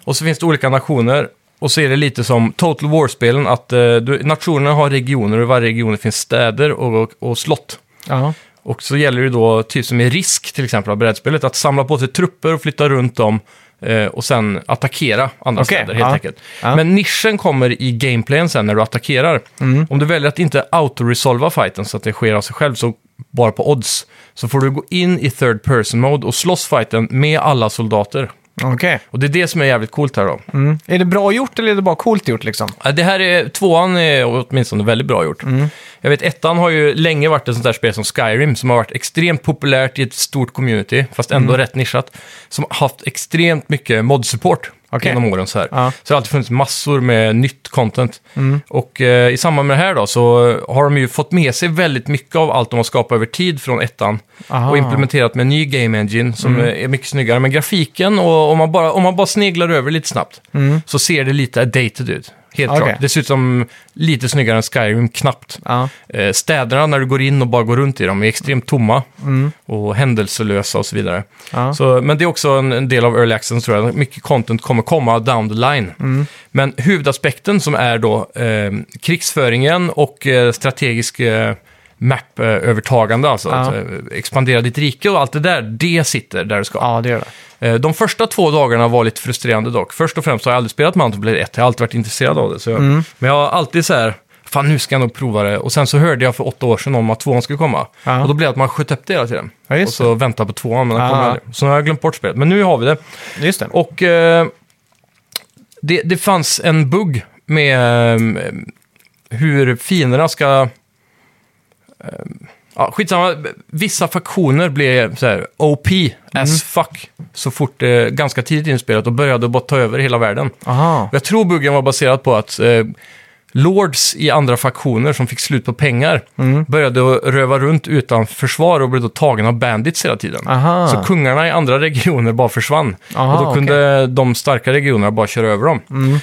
Speaker 1: och så finns det olika nationer. Och så är det lite som Total War-spelen, att eh, du, nationerna har regioner och i varje region finns städer och, och, och slott.
Speaker 2: Ja.
Speaker 1: Och så gäller det då, typ som i risk till exempel av brädspelet, att samla på sig trupper och flytta runt dem eh, och sen attackera andra
Speaker 2: Okej,
Speaker 1: städer helt
Speaker 2: ja.
Speaker 1: enkelt.
Speaker 2: Ja.
Speaker 1: Men nischen kommer i gameplayen sen när du attackerar.
Speaker 2: Mm.
Speaker 1: Om du väljer att inte autoresolva fighten så att det sker av sig själv, så bara på odds, så får du gå in i third person mode och slåss fighten med alla soldater.
Speaker 2: Okej.
Speaker 1: Och det är det som är jävligt coolt här då.
Speaker 2: Mm. Är det bra gjort eller är det bara coolt gjort liksom?
Speaker 1: Ja, Det här är, tvåan är åtminstone väldigt bra gjort.
Speaker 2: Mm.
Speaker 1: Jag vet, ettan har ju länge varit ett sånt där spel som Skyrim, som har varit extremt populärt i ett stort community, fast
Speaker 2: Mm.
Speaker 1: ändå rätt nischat, som har haft extremt mycket mod-support
Speaker 2: Okej.
Speaker 1: genom åren. Så, här.
Speaker 2: Ja. Mm.
Speaker 1: så det har alltid funnits massor med nytt content. Och eh, i samband med det här då, så har de ju fått med sig väldigt mycket av allt de har skapat över tid från ettan
Speaker 2: Aha.
Speaker 1: och implementerat med en ny game engine som eh, är mycket snyggare. Men grafiken, och om man bara, om man bara sneglar över lite snabbt, så ser det lite dated ut. Helt
Speaker 2: Okej.
Speaker 1: klart. Det ser ut som lite snyggare än Skyrim, knappt.
Speaker 2: Ja.
Speaker 1: Eh, Städerna, när du går in och bara går runt i dem, är extremt tomma och händelselösa och så vidare.
Speaker 2: Mm. Ja.
Speaker 1: Så, men det är också en, en del av early access, tror jag. Mycket content kommer komma down the line.
Speaker 2: Mm.
Speaker 1: Men huvudaspekten som är då eh, krigsföringen och eh, strategisk eh, map-övertagande, alltså
Speaker 2: Ja.
Speaker 1: att eh, expandera ditt rike och allt det där, det sitter där det ska.
Speaker 2: Ja, det gör det.
Speaker 1: Eh, De första två dagarna var lite frustrerande dock. Först och främst har jag aldrig spelat Mountain Blade 1, jag har alltid varit intresserad av det. Så jag,
Speaker 2: Mm.
Speaker 1: Men jag har alltid så här, fan nu ska jag nog prova det. Och sen så hörde jag för åtta år sedan om att tvåan skulle komma.
Speaker 2: Ja.
Speaker 1: Och då blev det att man sköt upp det hela tiden.
Speaker 2: Ja, just Ah.
Speaker 1: och så väntade på tvåan, men den kom
Speaker 2: Ja.
Speaker 1: aldrig. Så nu har jag glömt bort spelet. Men nu har vi det.
Speaker 2: Just det.
Speaker 1: Och eh, det, det fanns en bugg med eh, hur fienderna ska... eh, Ja, skitsamma, vissa faktioner blev så här, OP as fuck så fort eh, ganska tidigt inspelat och började bara ta över hela världen.
Speaker 2: Aha.
Speaker 1: Jag tror buggen var baserad på att eh, lords i andra faktioner som fick slut på pengar
Speaker 2: Mm.
Speaker 1: började att röva runt utan försvar och blev då tagna av bandits hela tiden.
Speaker 2: Aha.
Speaker 1: Så kungarna i andra regioner bara försvann.
Speaker 2: Aha, Mm.
Speaker 1: och då kunde de starka regionerna bara köra över dem.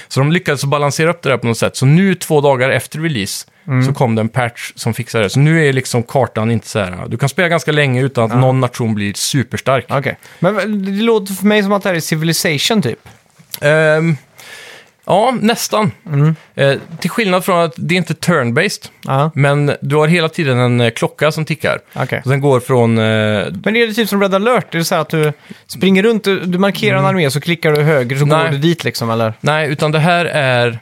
Speaker 1: Så de lyckades balansera upp det där på något sätt. Så nu två dagar efter release
Speaker 2: Mm.
Speaker 1: så kom det en patch som fixade det. Så nu är liksom kartan inte så här. Du kan spela ganska länge utan att någon nation blir superstark.
Speaker 2: Okej. Men det låter för mig som att det här är Civilization typ.
Speaker 1: Ehm, ja, nästan.
Speaker 2: Mm.
Speaker 1: Eh, till skillnad från att det är inte turn-based,
Speaker 2: Ja.
Speaker 1: men du har hela tiden en eh, klocka som tickar.
Speaker 2: Okej.
Speaker 1: Och den går från... Eh,
Speaker 2: Men är det typ som Red alert? Är det så här att du springer runt, du, du markerar en armé så klickar du höger så
Speaker 1: Mm. Nej.
Speaker 2: går du dit liksom eller?
Speaker 1: nej, utan det här är...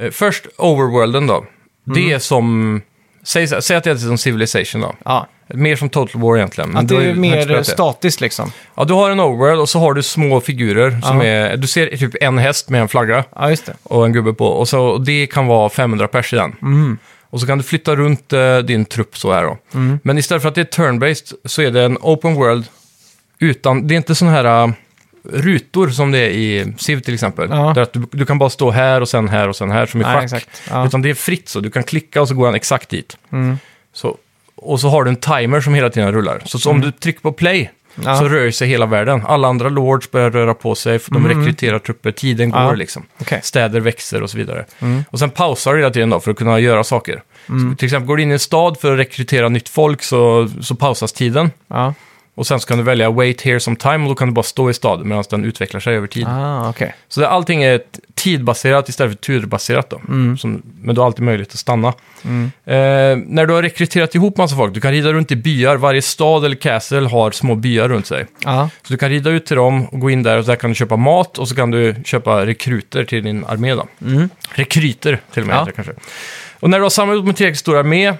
Speaker 1: Eh, först overworlden då.
Speaker 2: Mm.
Speaker 1: Det är som... Säg, säg att det är som Civilization då.
Speaker 2: Ja.
Speaker 1: Mer som Total War egentligen. men
Speaker 2: Att
Speaker 1: du
Speaker 2: det
Speaker 1: har ju-
Speaker 2: är
Speaker 1: har ju inte
Speaker 2: mer
Speaker 1: spelat Mm, det.
Speaker 2: statiskt liksom.
Speaker 1: Ja, du har en overworld och så har du små figurer som
Speaker 2: Ja.
Speaker 1: är... Du ser typ en häst med en flagga.
Speaker 2: Ja, just det.
Speaker 1: och en gubbe på. Och så, och det kan vara 500 pers i den.
Speaker 2: Mm.
Speaker 1: Och så kan du flytta runt eh, din trupp så här då.
Speaker 2: Mm.
Speaker 1: Men istället för att det är turn-based så är det en open world utan, det är inte sådana här eh, rutor som det är i Civ till exempel.
Speaker 2: Ja.
Speaker 1: Där att du, du kan bara stå här och sen här och sen här som i
Speaker 2: Nej,
Speaker 1: schack.
Speaker 2: exakt. Ja. Mm.
Speaker 1: Utan det är fritt så, du kan klicka och så går han exakt dit. Så, och så har du en timer som hela tiden rullar. Så, så om du trycker på play
Speaker 2: Mm. Ja.
Speaker 1: så rör sig hela världen. Alla andra lords börjar röra på sig, för de rekryterar trupper, tiden
Speaker 2: Mm. Ja.
Speaker 1: går liksom.
Speaker 2: Okej.
Speaker 1: Städer växer och så vidare. Och sen pausar du hela tiden då för att kunna göra saker. Så till exempel går du in i en stad för att rekrytera nytt folk så, så pausas tiden.
Speaker 2: Ja.
Speaker 1: Och sen så kan du välja wait here some time och då kan du bara stå i staden medan den utvecklar sig över tid.
Speaker 2: Ah, okej.
Speaker 1: Så det, allting är t- tidbaserat istället för turbaserat då. Som, men du har alltid möjlighet att stanna. Eh, när du har rekryterat ihop massa folk, du kan rida runt i byar. Varje stad eller castle har små byar runt sig.
Speaker 2: Ja.
Speaker 1: Så du kan rida ut till dem och gå in där och där kan du köpa mat och så kan du köpa rekryter till din armé då. Rekryter till och med
Speaker 2: Ja.
Speaker 1: heter det kanske. Och när du har samlat upp en tillräckligt stor armé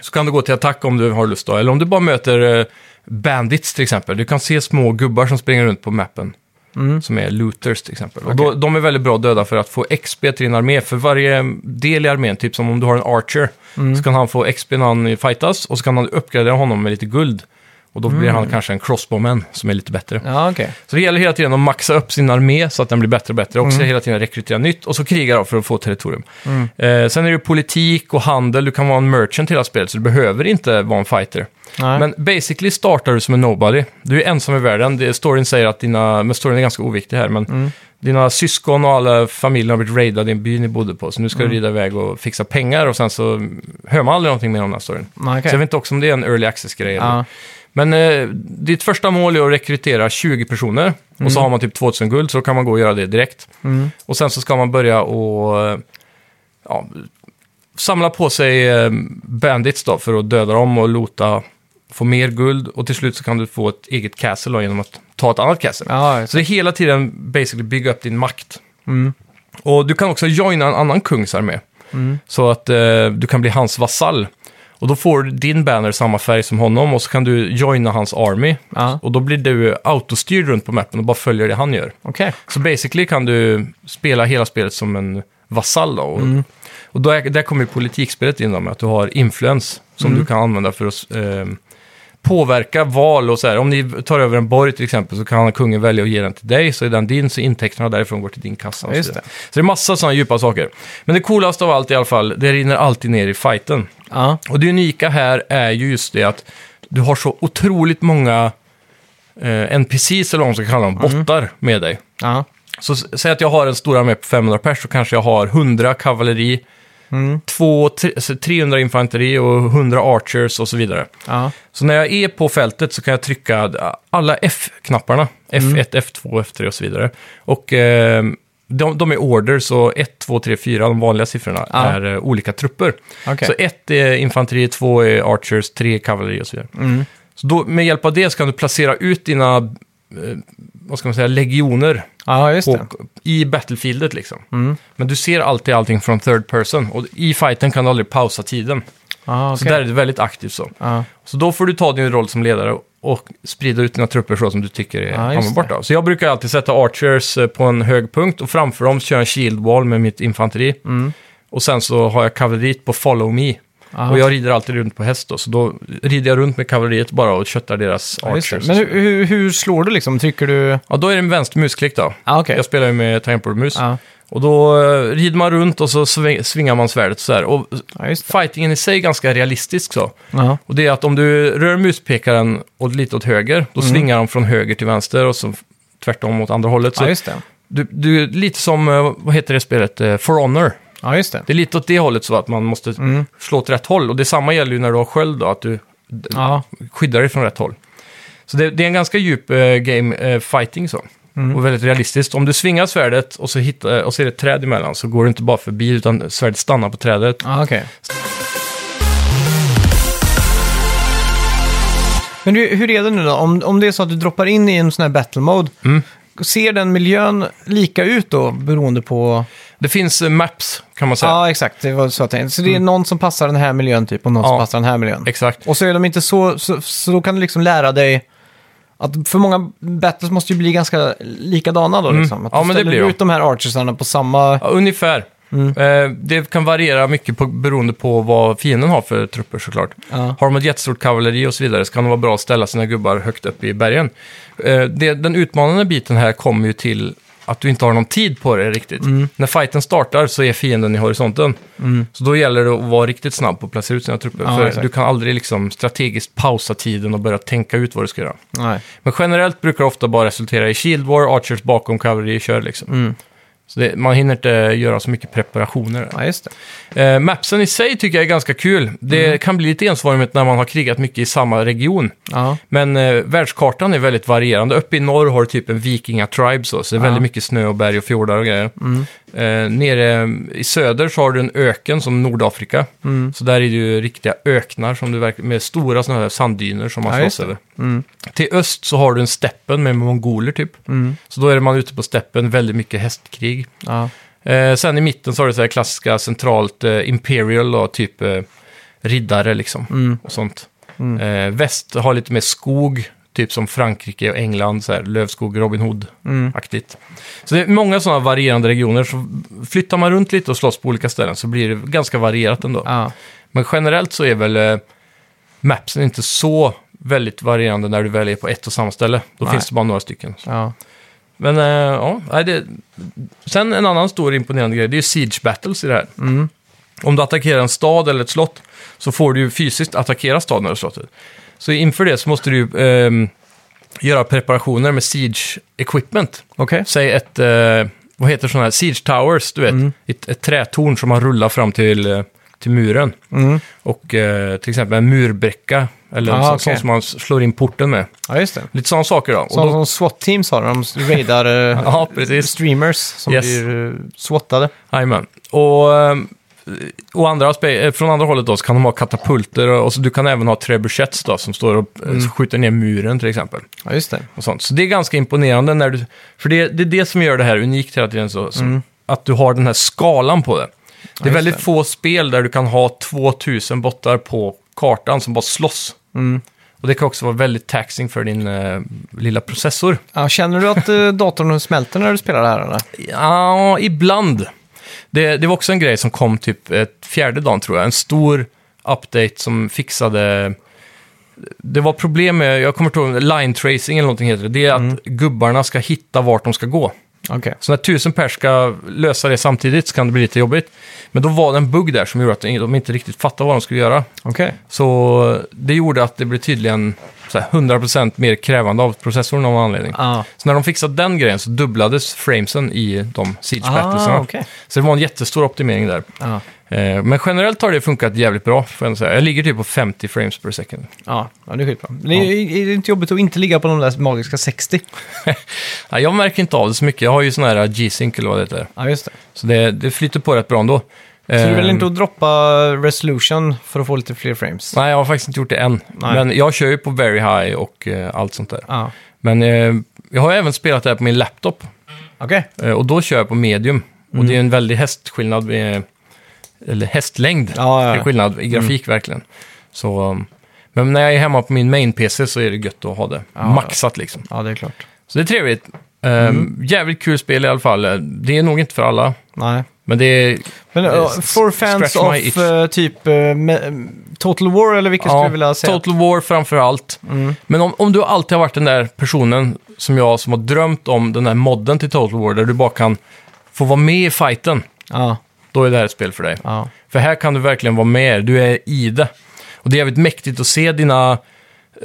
Speaker 1: så kan du gå till attack om du har lust då. Eller om du bara möter eh, bandits till exempel. Du kan se små gubbar som springer runt på mappen. Som är looters till exempel. Och då, de är väldigt bra att döda för att få XP till din armé. För varje del i armén, typ som om du har en archer, så kan han få XP när han fightas. Och så kan man uppgradera honom med lite guld. Och då blir han kanske en crossbowman som är lite bättre.
Speaker 2: Ja, okej.
Speaker 1: Så det gäller hela tiden att maxa upp sin armé så att den blir bättre och bättre. Och
Speaker 2: Mm.
Speaker 1: också hela tiden rekrytera nytt och så kriga då för att få territorium. Eh, sen är det ju politik och handel. Du kan vara en merchant i hela spelet så du behöver inte vara en fighter.
Speaker 2: Nej.
Speaker 1: Men basically startar du som en nobody. Du är ensam i världen. Det, storyn säger att dina, men storyn är ganska oviktig här, men
Speaker 2: Mm.
Speaker 1: dina syskon och alla familjen har blivit raidade i en by ni bodde på. Så nu
Speaker 2: Mm.
Speaker 1: ska du rida iväg och fixa pengar och sen så hör man aldrig någonting mer om den här storyn.
Speaker 2: Nej, okej.
Speaker 1: Så jag vet inte också om det är en early access-grej. eller-
Speaker 2: Ja.
Speaker 1: men eh, ditt första mål är att rekrytera 20 personer och så har man typ 2000 guld så då kan man gå och göra det direkt. Och sen så ska man börja och eh, ja, samla på sig eh, bandits då för att döda dem och lota, få mer guld och till slut så kan du få ett eget castle då, genom att ta ett annat castle.
Speaker 2: Ja, just
Speaker 1: Så det är hela tiden basically bygga upp din makt.
Speaker 2: Mm.
Speaker 1: Och du kan också joina en annan kungsarmé. Så att eh, du kan bli hans vasall. Och då får din banner samma färg som honom och så kan du joina hans army.
Speaker 2: Ja.
Speaker 1: Och då blir du autostyrd runt på mappen och bara följer det han gör.
Speaker 2: Okej.
Speaker 1: Så basically kan du spela hela spelet som en vasall då. Och, och då är, där kommer ju politikspelet in då med att du har influens som du kan använda för att eh, påverka val och så här. Om ni tar över en borg till exempel så kan kungen välja att ge den till dig, så är den din, så intäkterna därifrån går till din kassa. och så
Speaker 2: Just
Speaker 1: vidare. Så det är massa sådana djupa saker. Men det coolaste av allt i alla fall, det rinner alltid ner i fighten.
Speaker 2: Ja.
Speaker 1: Och det unika här är ju just det att du har så otroligt många eh, NPCs, eller vad man ska kalla dem, bottar med dig.
Speaker 2: Ja.
Speaker 1: Så s- säg att jag har en stor armé på 500 pers, så kanske jag har 100 kavalleri,
Speaker 2: Mm.
Speaker 1: två, tre- så 300 infanteri och 100 archers och så vidare.
Speaker 2: Ja.
Speaker 1: Så när jag är på fältet så kan jag trycka d- alla F-knapparna, F1,
Speaker 2: Mm.
Speaker 1: F2, F3 och så vidare. Och eh, de, de är order, så 1, 2, 3, 4, de vanliga siffrorna,
Speaker 2: Ja.
Speaker 1: är eh, olika trupper.
Speaker 2: Okej.
Speaker 1: Så 1 är infanteri, 2 är archers, 3 är kavalleri och så vidare.
Speaker 2: Mm.
Speaker 1: Så då, med hjälp av det så kan du placera ut dina, eh, vad ska man säga, legioner
Speaker 2: Ja, just det. Mm.
Speaker 1: på, i battlefieldet liksom. Men du ser alltid allting från third person och i fighten kan du aldrig pausa tiden.
Speaker 2: Ja,
Speaker 1: Så
Speaker 2: okej.
Speaker 1: där är det väldigt aktivt så.
Speaker 2: Ja.
Speaker 1: Så då får du ta din roll som ledare och sprida ut dina trupper så som du tycker är
Speaker 2: Ja, just
Speaker 1: användbart. då. Så jag brukar alltid sätta archers eh, på en hög punkt och framför dem köra en shield wall med mitt infanteri.
Speaker 2: Mm.
Speaker 1: Och sen så har jag kavalleriet på follow me.
Speaker 2: Ja.
Speaker 1: Och jag rider alltid runt på häst då, så då rider jag runt med kavalleriet bara och köttar deras
Speaker 2: Ja, just
Speaker 1: archers.
Speaker 2: det. Men hur, hur, hur slår du liksom? Trycker du...
Speaker 1: Ja, då är det en vänster musklick då.
Speaker 2: Ja, okej.
Speaker 1: Jag spelar ju med tangentbordmus.
Speaker 2: Ja.
Speaker 1: Och då eh, rider man runt och så sväng- svingar man svärdet så här. Och
Speaker 2: ja, just det.
Speaker 1: fightingen i sig är ganska realistisk så.
Speaker 2: Ja.
Speaker 1: Och det är att om du rör muspekaren åt, lite åt höger,
Speaker 2: Mm.
Speaker 1: då svingar de från höger till vänster och så tvärtom åt andra hållet. Så
Speaker 2: ja, just det.
Speaker 1: du, du är lite som, eh, vad heter det spelet, Eh, For Honor.
Speaker 2: Ja, just det.
Speaker 1: Det är lite åt det hållet så att man måste
Speaker 2: Mm.
Speaker 1: slå åt rätt håll. Och detsamma gäller ju när du har sköld då, att du d-
Speaker 2: Ja.
Speaker 1: skyddar dig från rätt håll. Så det, det är en ganska djup eh, game eh, fighting så. Och väldigt realistiskt. Om du svingar svärdet och så, hittar, och så är det ett träd emellan så går du inte bara förbi utan svärdet stannar på trädet.
Speaker 2: Ja, okej. Men hur, hur är det nu då? Om, om det är så att du droppar in i en sån här battle mode,
Speaker 1: Mm.
Speaker 2: ser den miljön lika ut då beroende på...
Speaker 1: Det finns eh, maps kan man säga.
Speaker 2: Ja, exakt. Det var så jag tänkte. Så det är någon som passar den här miljön typ och någon som
Speaker 1: Mm. Ja.
Speaker 2: passar den här miljön.
Speaker 1: Exakt.
Speaker 2: Och så är de inte så, så, så då kan du liksom lära dig att för många battles måste ju bli ganska likadana då liksom. Att
Speaker 1: Mm. Ja,
Speaker 2: du
Speaker 1: men det
Speaker 2: ställer
Speaker 1: blir de.
Speaker 2: ut de här archersarna på samma...
Speaker 1: Ja, ungefär. Eh, det kan variera mycket på, beroende på vad fienden har för trupper såklart.
Speaker 2: Ja.
Speaker 1: Har de ett jättestort kavalleri och så vidare så kan det vara bra att ställa sina gubbar högt upp i bergen. Eh, det, den utmanande biten här kommer ju till att du inte har någon tid på det riktigt.
Speaker 2: Mm.
Speaker 1: När fighten startar så är fienden i horisonten. Så då gäller det att vara riktigt snabb på att placera ut sina trupper.
Speaker 2: Ja,
Speaker 1: för
Speaker 2: exakt.
Speaker 1: du kan aldrig liksom strategiskt pausa tiden och börja tänka ut vad du ska göra.
Speaker 2: Nej.
Speaker 1: Men generellt brukar det ofta bara resultera i Shield War, Archers bakom kavalleri kör liksom. Så det, man hinner inte göra så mycket preparationer. där.
Speaker 2: Ja, just det.
Speaker 1: Eh, mapsen i sig tycker jag är ganska kul. Det kan bli lite ensvarigt när man har krigat mycket i samma region.
Speaker 2: Ja.
Speaker 1: Men eh, världskartan är väldigt varierande. Uppe i norr har du typ en vikingatribe så, så
Speaker 2: Ja.
Speaker 1: det är
Speaker 2: Mm.
Speaker 1: väldigt mycket snö och berg och fjordar och grejer. Eh, nere i söder så har du en öken som Nordafrika.
Speaker 2: Mm.
Speaker 1: Så där är det ju riktiga öknar som du verkar, med stora såna här sanddyner som man
Speaker 2: Ja,
Speaker 1: slåss
Speaker 2: just det. Mm.
Speaker 1: över. Till öst så har du en steppen med mongoler typ. Så då är man ute på steppen, väldigt mycket hästkrig.
Speaker 2: Ja.
Speaker 1: Eh, sen i mitten så har du så här klassiska centralt eh, Imperial då, typ eh, riddare liksom.
Speaker 2: Mm.
Speaker 1: Och sånt. Eh, väst har lite mer skog, typ som Frankrike och England, så här, lövskog, Robin
Speaker 2: Mm.
Speaker 1: Hood-aktigt. Så det är många sådana varierande regioner. Så flyttar man runt lite och slåss på olika ställen så blir det ganska varierat ändå.
Speaker 2: Ja.
Speaker 1: Men generellt så är väl eh, mapsen inte så väldigt varierande när du väl är på ett och samma ställe. Då
Speaker 2: Nej.
Speaker 1: finns det bara några stycken.
Speaker 2: Ja.
Speaker 1: Men eh, ja, nej, det... sen en annan stor imponerande grej, det är ju Siege Battles i det här.
Speaker 2: Mm.
Speaker 1: Om du attackerar en stad eller ett slott så får du ju fysiskt attackera staden eller slottet. Så inför det så måste du ju ehm, göra preparationer med Siege Equipment.
Speaker 2: Okej.
Speaker 1: Säg ett, eh, vad heter sådana här, Siege Towers, du vet.
Speaker 2: Mm.
Speaker 1: Ett, ett trätorn som man rullar fram till, eh, till muren.
Speaker 2: Mm.
Speaker 1: Och eh, till exempel en murbräcka, eller
Speaker 2: Ah,
Speaker 1: så,
Speaker 2: okej.
Speaker 1: sånt som man slår in porten med.
Speaker 2: Ja, just det.
Speaker 1: Lite sådana saker då. Och
Speaker 2: Som,
Speaker 1: då-
Speaker 2: som SWAT-teams har, de raidar eh,
Speaker 1: Ja, precis.
Speaker 2: streamers som
Speaker 1: Yes.
Speaker 2: blir eh, SWATade.
Speaker 1: Jajamän. Och, ehm, och andra aspe- eh, från andra hållet då så kan de ha katapulter och och så du kan även ha trebuchets då som står och
Speaker 2: Mm.
Speaker 1: eh, skjuter ner muren till exempel.
Speaker 2: Ja, just det.
Speaker 1: Och sånt. Så det är ganska imponerande när du... För det, det är det som gör det här unikt hela tiden, så, så, att du har den här skalan på det. Det är
Speaker 2: Mm. just
Speaker 1: väldigt
Speaker 2: det.
Speaker 1: få spel där du kan ha 2000 bottar på kartan som bara slåss.
Speaker 2: Mm.
Speaker 1: Och det kan också vara väldigt taxing för din eh, lilla processor.
Speaker 2: Ja, känner du att eh, datorn smälter när du spelar det här? Eller?
Speaker 1: Ja, ibland. Det, det var också en grej som kom typ ett fjärde dagen tror jag. En stor update som fixade... Det var problem med, jag kommer inte ihåg, line tracing eller någonting heter det. Det är att gubbarna ska hitta vart de ska gå.
Speaker 2: Okej.
Speaker 1: Så när tusen pers ska lösa det samtidigt så kan det bli lite jobbigt. Men då var det en bugg där som gjorde att de inte riktigt fattade vad de skulle göra.
Speaker 2: Okej.
Speaker 1: Så det gjorde att det blev tydligen så här 100% mer krävande av processorn av någon anledning.
Speaker 2: Ja.
Speaker 1: Så när de fixade den grejen så dubblades framesen i de siege battlesarna.
Speaker 2: Ah, okej.
Speaker 1: Så det var en jättestor optimering där.
Speaker 2: Ja.
Speaker 1: Eh, Men generellt har det funkat jävligt bra, får jag ändå säga. Jag ligger typ på 50 frames per second.
Speaker 2: Ja, ja, det är skitbra. Men det är, är det inte jobbigt att inte ligga på de där magiska 60?
Speaker 1: Nej, jag märker inte av det så mycket. Jag har ju sån här G-Sync eller vad det heter.
Speaker 2: Ja, just det. Ehm.
Speaker 1: Så det, det flyter på rätt bra ändå. Eh,
Speaker 2: Så du vill inte att droppa resolution för att få lite fler frames?
Speaker 1: Nej, jag har faktiskt inte gjort det än.
Speaker 2: Nej.
Speaker 1: Men jag kör ju på very high och eh, allt sånt där.
Speaker 2: Ja.
Speaker 1: Men eh, jag har även spelat det här på min laptop.
Speaker 2: Okej.
Speaker 1: Eh, Och då kör jag på medium. Och det är
Speaker 2: Mm.
Speaker 1: en väldig hästskillnad, med, eller hästlängd,
Speaker 2: Ja, ja, Mm. ja.
Speaker 1: är skillnad i grafik verkligen. Så, um, men när jag är hemma på min main-PC så är det gött att ha det
Speaker 2: ja.
Speaker 1: maxat liksom.
Speaker 2: Ja, det är klart.
Speaker 1: Så det är trevligt. Um,
Speaker 2: Mm.
Speaker 1: Jävligt kul spel i alla fall. Eh, Det är nog inte för alla,
Speaker 2: Nej.
Speaker 1: men det är...
Speaker 2: Men
Speaker 1: Eh,
Speaker 2: uh, for fans
Speaker 1: scratch
Speaker 2: of
Speaker 1: my itch.
Speaker 2: eh, typ eh, me- Total War eller vilket skulle du vilja säga? Mm.
Speaker 1: Total War framför allt. Men om, om du alltid har varit den där personen som jag, som har drömt om den där modden till Total War, där du bara kan få vara med i fighten,
Speaker 2: Ja,
Speaker 1: då är det här ett spel för dig.
Speaker 2: ja.
Speaker 1: För här kan du verkligen vara med, du är i det. Och det är jävligt mäktigt att se dina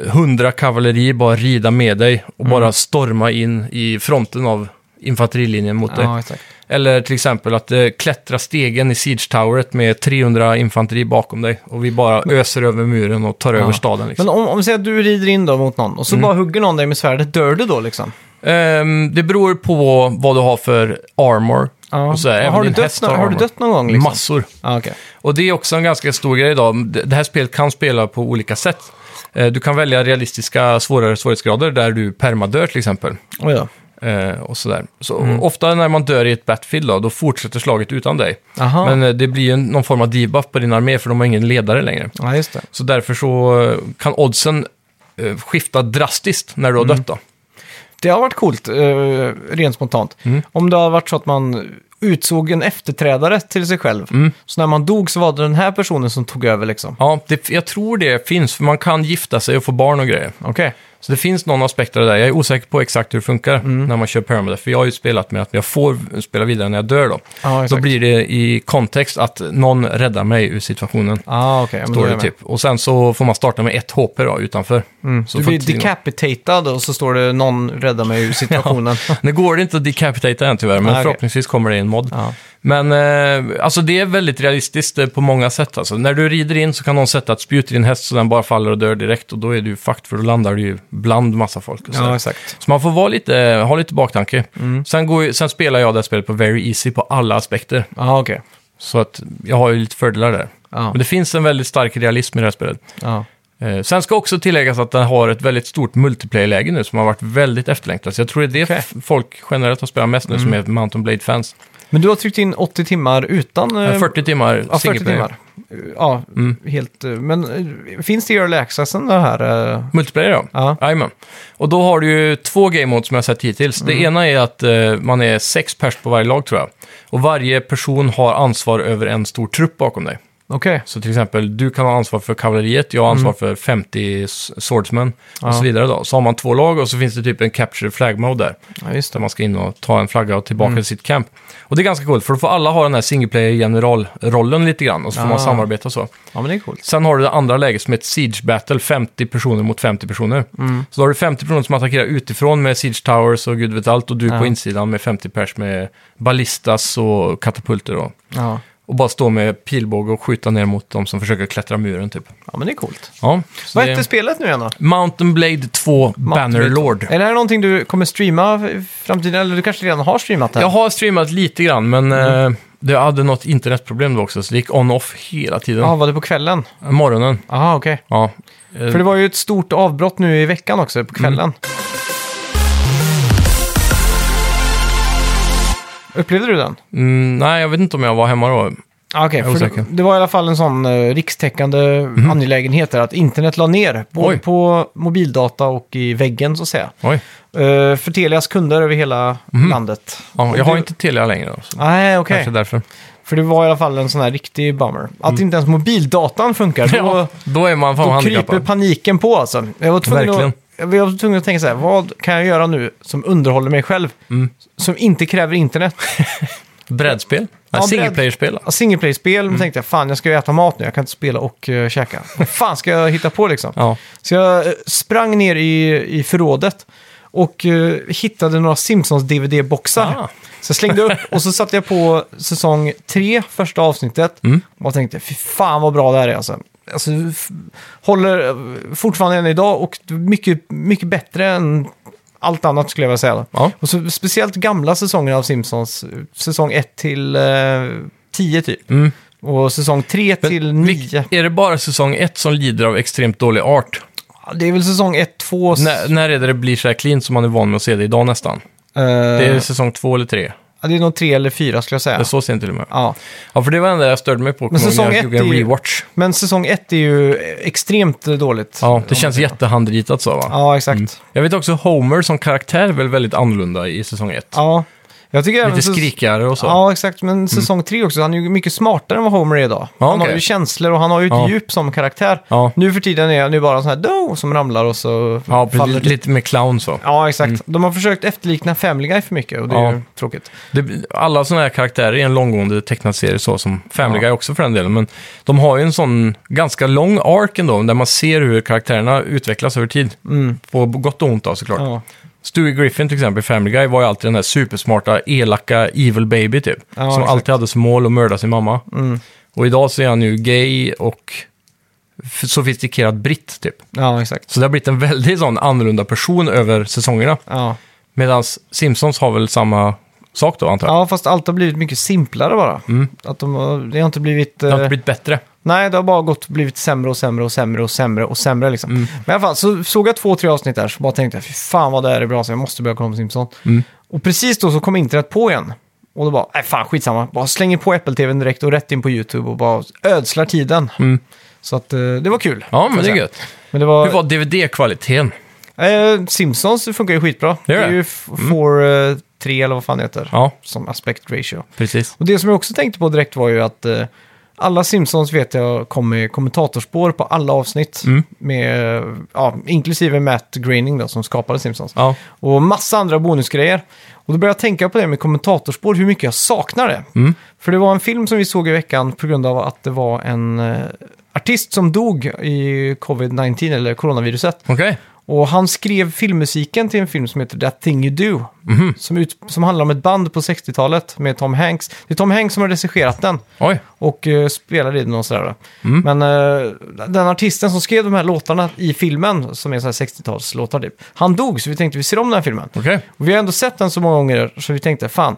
Speaker 1: eh, hundra kavalleri bara rida med dig och
Speaker 2: Mm.
Speaker 1: bara storma in i fronten av infanterilinjen mot dig.
Speaker 2: ja, exakt.
Speaker 1: Eller till exempel att eh, klättra stegen i Siege Toweret med 300 infanteri bakom dig och vi bara öser över muren och tar över staden. Liksom.
Speaker 2: Men om, om vi säger att du rider in då mot någon och så bara hugger någon dig med svärdet, dör du då liksom?
Speaker 1: Ehm, det beror på vad du har för armor.
Speaker 2: Ja.
Speaker 1: Och så här, även
Speaker 2: har, du
Speaker 1: din
Speaker 2: dött
Speaker 1: häst har
Speaker 2: nå- har du
Speaker 1: armor.
Speaker 2: dött någon gång? Liksom?
Speaker 1: Massor.
Speaker 2: Ja, okej.
Speaker 1: Och det är också en ganska stor grej idag. Det det här spelet kan spela på olika sätt. Eh, Du kan välja realistiska svårare svårighetsgrader där du permadör till exempel.
Speaker 2: Oj då.
Speaker 1: Eh, Och sådär. Så ofta när man dör i ett Battlefield då, då fortsätter slaget utan dig.
Speaker 2: Aha.
Speaker 1: Men eh, det blir ju en- någon form av debuff på din armé för de har ingen ledare längre.
Speaker 2: Ja, just det.
Speaker 1: Så därför så eh, kan oddsen eh, skifta drastiskt när du har dött då.
Speaker 2: Det har varit coolt, eh, rent spontant. Om det har varit så att man utsåg en efterträdare till sig själv. Så när man dog så var det den här personen som tog över liksom.
Speaker 1: Ja, det, jag tror det finns, för man kan gifta sig och få barn och grejer.
Speaker 2: Okej.
Speaker 1: Så det finns någon aspekt av det där. Jag är osäker på exakt hur det funkar
Speaker 2: Mm.
Speaker 1: när man kör Paramedic. För jag har ju spelat med att jag får spela vidare när jag dör då.
Speaker 2: Ja,
Speaker 1: Då
Speaker 2: exakt.
Speaker 1: blir det i kontext att någon räddar mig ur situationen.
Speaker 2: Ah, okej. men då
Speaker 1: Står
Speaker 2: är
Speaker 1: det
Speaker 2: jag med. Mm.
Speaker 1: typ. Och sen så får man starta med ett HP då, utanför. Så
Speaker 2: Du
Speaker 1: får
Speaker 2: blir
Speaker 1: inte-
Speaker 2: decapitated och så står det någon räddar mig ur situationen. ja.
Speaker 1: Nu går det inte att decapitata än tyvärr, men
Speaker 2: Ah, okej.
Speaker 1: förhoppningsvis kommer det i en mod.
Speaker 2: Ja.
Speaker 1: Men eh, alltså det är väldigt realistiskt eh, på många sätt. Alltså. När du rider in så kan någon sätta ett spjut i din häst så den bara faller och dör direkt och då är du ju fucked för då landar du ju bland massa folk. Och sådär.
Speaker 2: exakt.
Speaker 1: Så man får vara lite, ha lite baktanke.
Speaker 2: Mm.
Speaker 1: Sen, går, ju- sen spelar jag det här spelet på very easy på alla aspekter.
Speaker 2: Ja, ah, okej.
Speaker 1: Så att jag har ju lite fördelar där.
Speaker 2: Ja.
Speaker 1: Men det finns en väldigt stark realism i det här spelet.
Speaker 2: Ja.
Speaker 1: Eh, sen ska också tilläggas att den har ett väldigt stort multiplayer-läge nu som har varit väldigt efterlängtat. Så jag tror det är det
Speaker 2: Okej. Mm.
Speaker 1: f- folk generellt har spelat mest nu som är Mountain Blade-fans.
Speaker 2: Men du har tryckt in 80 timmar utan... eh,
Speaker 1: Eh, 40 timmar
Speaker 2: ja, 40
Speaker 1: single player.
Speaker 2: timmar. Ja, helt... eh, Men eh, finns det i early accessen det här? eh?
Speaker 1: Multiplayer ja.
Speaker 2: Ja.
Speaker 1: Jajamän. Och då har du ju två game modes som jag har sett hittills.
Speaker 2: Mm.
Speaker 1: Det ena är att eh, man är sex pers på varje lag tror jag. Och varje person har ansvar över en stor trupp bakom dig.
Speaker 2: Okej.
Speaker 1: Så till exempel, du kan ha ansvar för kavalleriet, jag har ansvar för 50 s- swordsmen
Speaker 2: Mm. Ja.
Speaker 1: och så vidare. Då. Så har man två lag och så finns det typ en capture flag mode där.
Speaker 2: Ja, just
Speaker 1: Där
Speaker 2: det.
Speaker 1: man ska in och ta en flagga och
Speaker 2: Mm.
Speaker 1: tillbaka till sitt camp. Och det är ganska coolt, för då får alla ha den här single player generalrollen lite grann. Och så får
Speaker 2: Ah.
Speaker 1: man samarbeta och så.
Speaker 2: Ja, men det är coolt.
Speaker 1: Sen har du det andra läget som är ett siege battle, 50 personer mot 50 personer.
Speaker 2: Mm.
Speaker 1: Så då har du 50 personer som attackerar utifrån med siege towers och gud vet allt. Och du
Speaker 2: Ja.
Speaker 1: på insidan med 50 pers med ballistas och katapulter. Då.
Speaker 2: Ja.
Speaker 1: Och bara stå med pilbåge och skjuta ner mot de som försöker klättra muren typ.
Speaker 2: ja, men det är coolt.
Speaker 1: Ja, så
Speaker 2: Vad
Speaker 1: det är
Speaker 2: hette spelet nu igen då?
Speaker 1: Mountain Blade 2 Banner Lord.
Speaker 2: Är det här någonting du kommer streama i framtiden? Eller du kanske redan har streamat det? här?
Speaker 1: Jag har streamat lite grann, men
Speaker 2: Mm.
Speaker 1: eh, det hade något internetproblem då också, så det gick on-off hela tiden.
Speaker 2: Ja, var det på kvällen?
Speaker 1: Morgonen,
Speaker 2: Jaha, okej.
Speaker 1: ja. Eh,
Speaker 2: För det var ju ett stort avbrott nu i veckan också, på kvällen. Mm. Upplevde du den?
Speaker 1: mm, nej, jag vet inte om jag var hemma då.
Speaker 2: Ah, Okej,
Speaker 1: Jag är
Speaker 2: för det,
Speaker 1: osäker. Mhm.
Speaker 2: det var i alla fall en sån eh, rikstäckande angelägenhet där att internet la ner, både
Speaker 1: Oj.
Speaker 2: på mobildata och i väggen så att säga.
Speaker 1: Oj.
Speaker 2: Eh, för Telias kunder över hela landet.
Speaker 1: Mhm. Ja,
Speaker 2: Och
Speaker 1: jag har
Speaker 2: det-
Speaker 1: inte Telia längre då, så
Speaker 2: Nej, okej.
Speaker 1: kanske därför.
Speaker 2: För det var i alla fall en sån här riktig bummer. Att inte ens mobildatan funkar, då,
Speaker 1: Ja, då är man fan
Speaker 2: då kryper
Speaker 1: handikappad.
Speaker 2: paniken på alltså. Jag var, tvungen
Speaker 1: Verkligen.
Speaker 2: att, jag var tvungen att tänka så här, vad kan jag göra nu som underhåller mig själv?
Speaker 1: Mm.
Speaker 2: Som inte kräver internet.
Speaker 1: Brädspel?
Speaker 2: Ja,
Speaker 1: Nej, single player-spel.
Speaker 2: Ja, Single play-spel, men tänkte jag, fan jag ska ju äta mat nu, jag kan inte spela och uh, käka. Vad fan ska jag hitta på liksom?
Speaker 1: Ja.
Speaker 2: Så jag eh, sprang ner i, i förrådet och eh, hittade några Simpsons-DVD-boxar.
Speaker 1: Ah.
Speaker 2: Så jag slängde upp och så satte jag på säsong tre, första avsnittet. Och tänkte, fy fan vad bra det här är alltså. alltså f- håller eh, fortfarande än idag och mycket, mycket bättre än allt annat skulle jag vilja säga.
Speaker 1: Ja.
Speaker 2: Och så, speciellt gamla säsonger av Simpsons, säsong 1 till eh, 10 typ.
Speaker 1: Mm.
Speaker 2: Och säsong 3
Speaker 1: Men
Speaker 2: till
Speaker 1: vilk-
Speaker 2: 9.
Speaker 1: Är det bara säsong 1 som lider av extremt dålig art?
Speaker 2: Ja, Det är väl säsong 1, 2...
Speaker 1: När, när är det det blir så här clean som man är van med att se det idag nästan? Det är säsong 2 eller 3.
Speaker 2: eh, Ja, det är nog tre eller fyra skulle jag säga.
Speaker 1: Det är så sent till och med.
Speaker 2: Ja.
Speaker 1: Ja, för det var det enda jag störde mig på. kommer jag ihåg,
Speaker 2: säsong
Speaker 1: när jag
Speaker 2: ett
Speaker 1: gjorde en
Speaker 2: är ju-
Speaker 1: rewatch.
Speaker 2: Men säsong ett är ju extremt dåligt.
Speaker 1: Ja, Mm. det känns jättehandritat så va?
Speaker 2: Ja, exakt.
Speaker 1: Jag vet också Homer som karaktär är väl väldigt annorlunda i säsong 1.
Speaker 2: Ja. Jag tycker även
Speaker 1: Lite
Speaker 2: säs-
Speaker 1: skrikigare och så. Mm.
Speaker 2: Ja, exakt. Men säsong tre också, han är ju mycket smartare än vad Homer är idag.
Speaker 1: Ja,
Speaker 2: han har
Speaker 1: okej.
Speaker 2: ju känslor och han har ju ett
Speaker 1: Ja.
Speaker 2: djup som karaktär.
Speaker 1: Ja.
Speaker 2: Nu för tiden är han ju bara en sån här do som ramlar och så
Speaker 1: Ja, precis.
Speaker 2: faller.
Speaker 1: lite mer clown så.
Speaker 2: Ja, exakt. De har försökt efterlikna Family Guy för mycket och det är
Speaker 1: Mm. Ja.
Speaker 2: ju tråkigt.
Speaker 1: Det, alla sådana här karaktärer i en långgående tecknad serie, så som Family Guy också för den delen, men de har ju en sån ganska lång ark ändå, där man ser hur karaktärerna utvecklas över tid. På gott och ont då såklart.
Speaker 2: Mm. Ja.
Speaker 1: Stewie Griffin till exempel i Family Guy var ju alltid den här supersmarta, elaka, evil baby typ.
Speaker 2: Ja,
Speaker 1: som
Speaker 2: exakt. Mm.
Speaker 1: alltid hade som mål att mörda sin mamma. Och idag så är han ju gay och f- sofistikerad britt typ.
Speaker 2: ja, exakt.
Speaker 1: Så det har blivit en väldigt sån annorlunda person över säsongerna.
Speaker 2: Ja.
Speaker 1: Medan Simpsons har väl samma sak då antar jag.
Speaker 2: ja, fast allt har blivit mycket simplare bara. Att de, har- det har inte blivit...
Speaker 1: Mm. Det har
Speaker 2: eh,
Speaker 1: inte blivit bättre.
Speaker 2: Nej, det har bara gått blivit sämre och sämre och sämre och sämre och sämre liksom.
Speaker 1: Mm.
Speaker 2: Men i alla fall, så såg jag två, tre avsnitt där så bara tänkte jag, fy fan vad det här är bra, så jag måste börja kolla på Simpson.
Speaker 1: Mm.
Speaker 2: Och precis då så kom internet på igen. Och då bara, nej fan skitsamma, bara slänger på Apple-TVn direkt och rätt in på YouTube och bara ödslar tiden. Så att eh, det var kul.
Speaker 1: Mm. Ja, men det är gött.
Speaker 2: Men det var,
Speaker 1: Hur var DVD-kvaliteten?
Speaker 2: Eh, Simpsons funkar ju skitbra.
Speaker 1: Gör
Speaker 2: det är
Speaker 1: det? Mm.
Speaker 2: ju f- 4, 3 eller vad fan det heter,
Speaker 1: Ja,
Speaker 2: som aspect ratio.
Speaker 1: precis.
Speaker 2: Och det som jag också tänkte på direkt var ju att eh, Alla Simpsons vet jag kom med kommentatorspår på alla avsnitt.
Speaker 1: Mm.
Speaker 2: Med, eh, ja, inklusive Matt Groening då, som skapade Simpsons.
Speaker 1: Ja.
Speaker 2: Och massa andra bonusgrejer. Och då började jag tänka på det med kommentatorspår, hur mycket jag saknar det.
Speaker 1: Mm.
Speaker 2: För det var en film som vi såg i veckan på grund av att det var en eh, artist som dog i covid-19 eller coronaviruset.
Speaker 1: Okej.
Speaker 2: Och han skrev filmmusiken till en film som heter That Thing You Do.
Speaker 1: Mhm.
Speaker 2: Som, ut, som handlar om ett band på 60-talet med Tom Hanks. Det är Tom Hanks som har regisserat den
Speaker 1: Oj.
Speaker 2: och eh, spelade i den och sådär.
Speaker 1: Mm.
Speaker 2: Men eh, den artisten som skrev de här låtarna i filmen, som är så här 60-talslåtar typ, han dog så vi tänkte vi ser om den här filmen.
Speaker 1: Okej.
Speaker 2: Och vi har ändå sett den så många gånger så vi tänkte fan,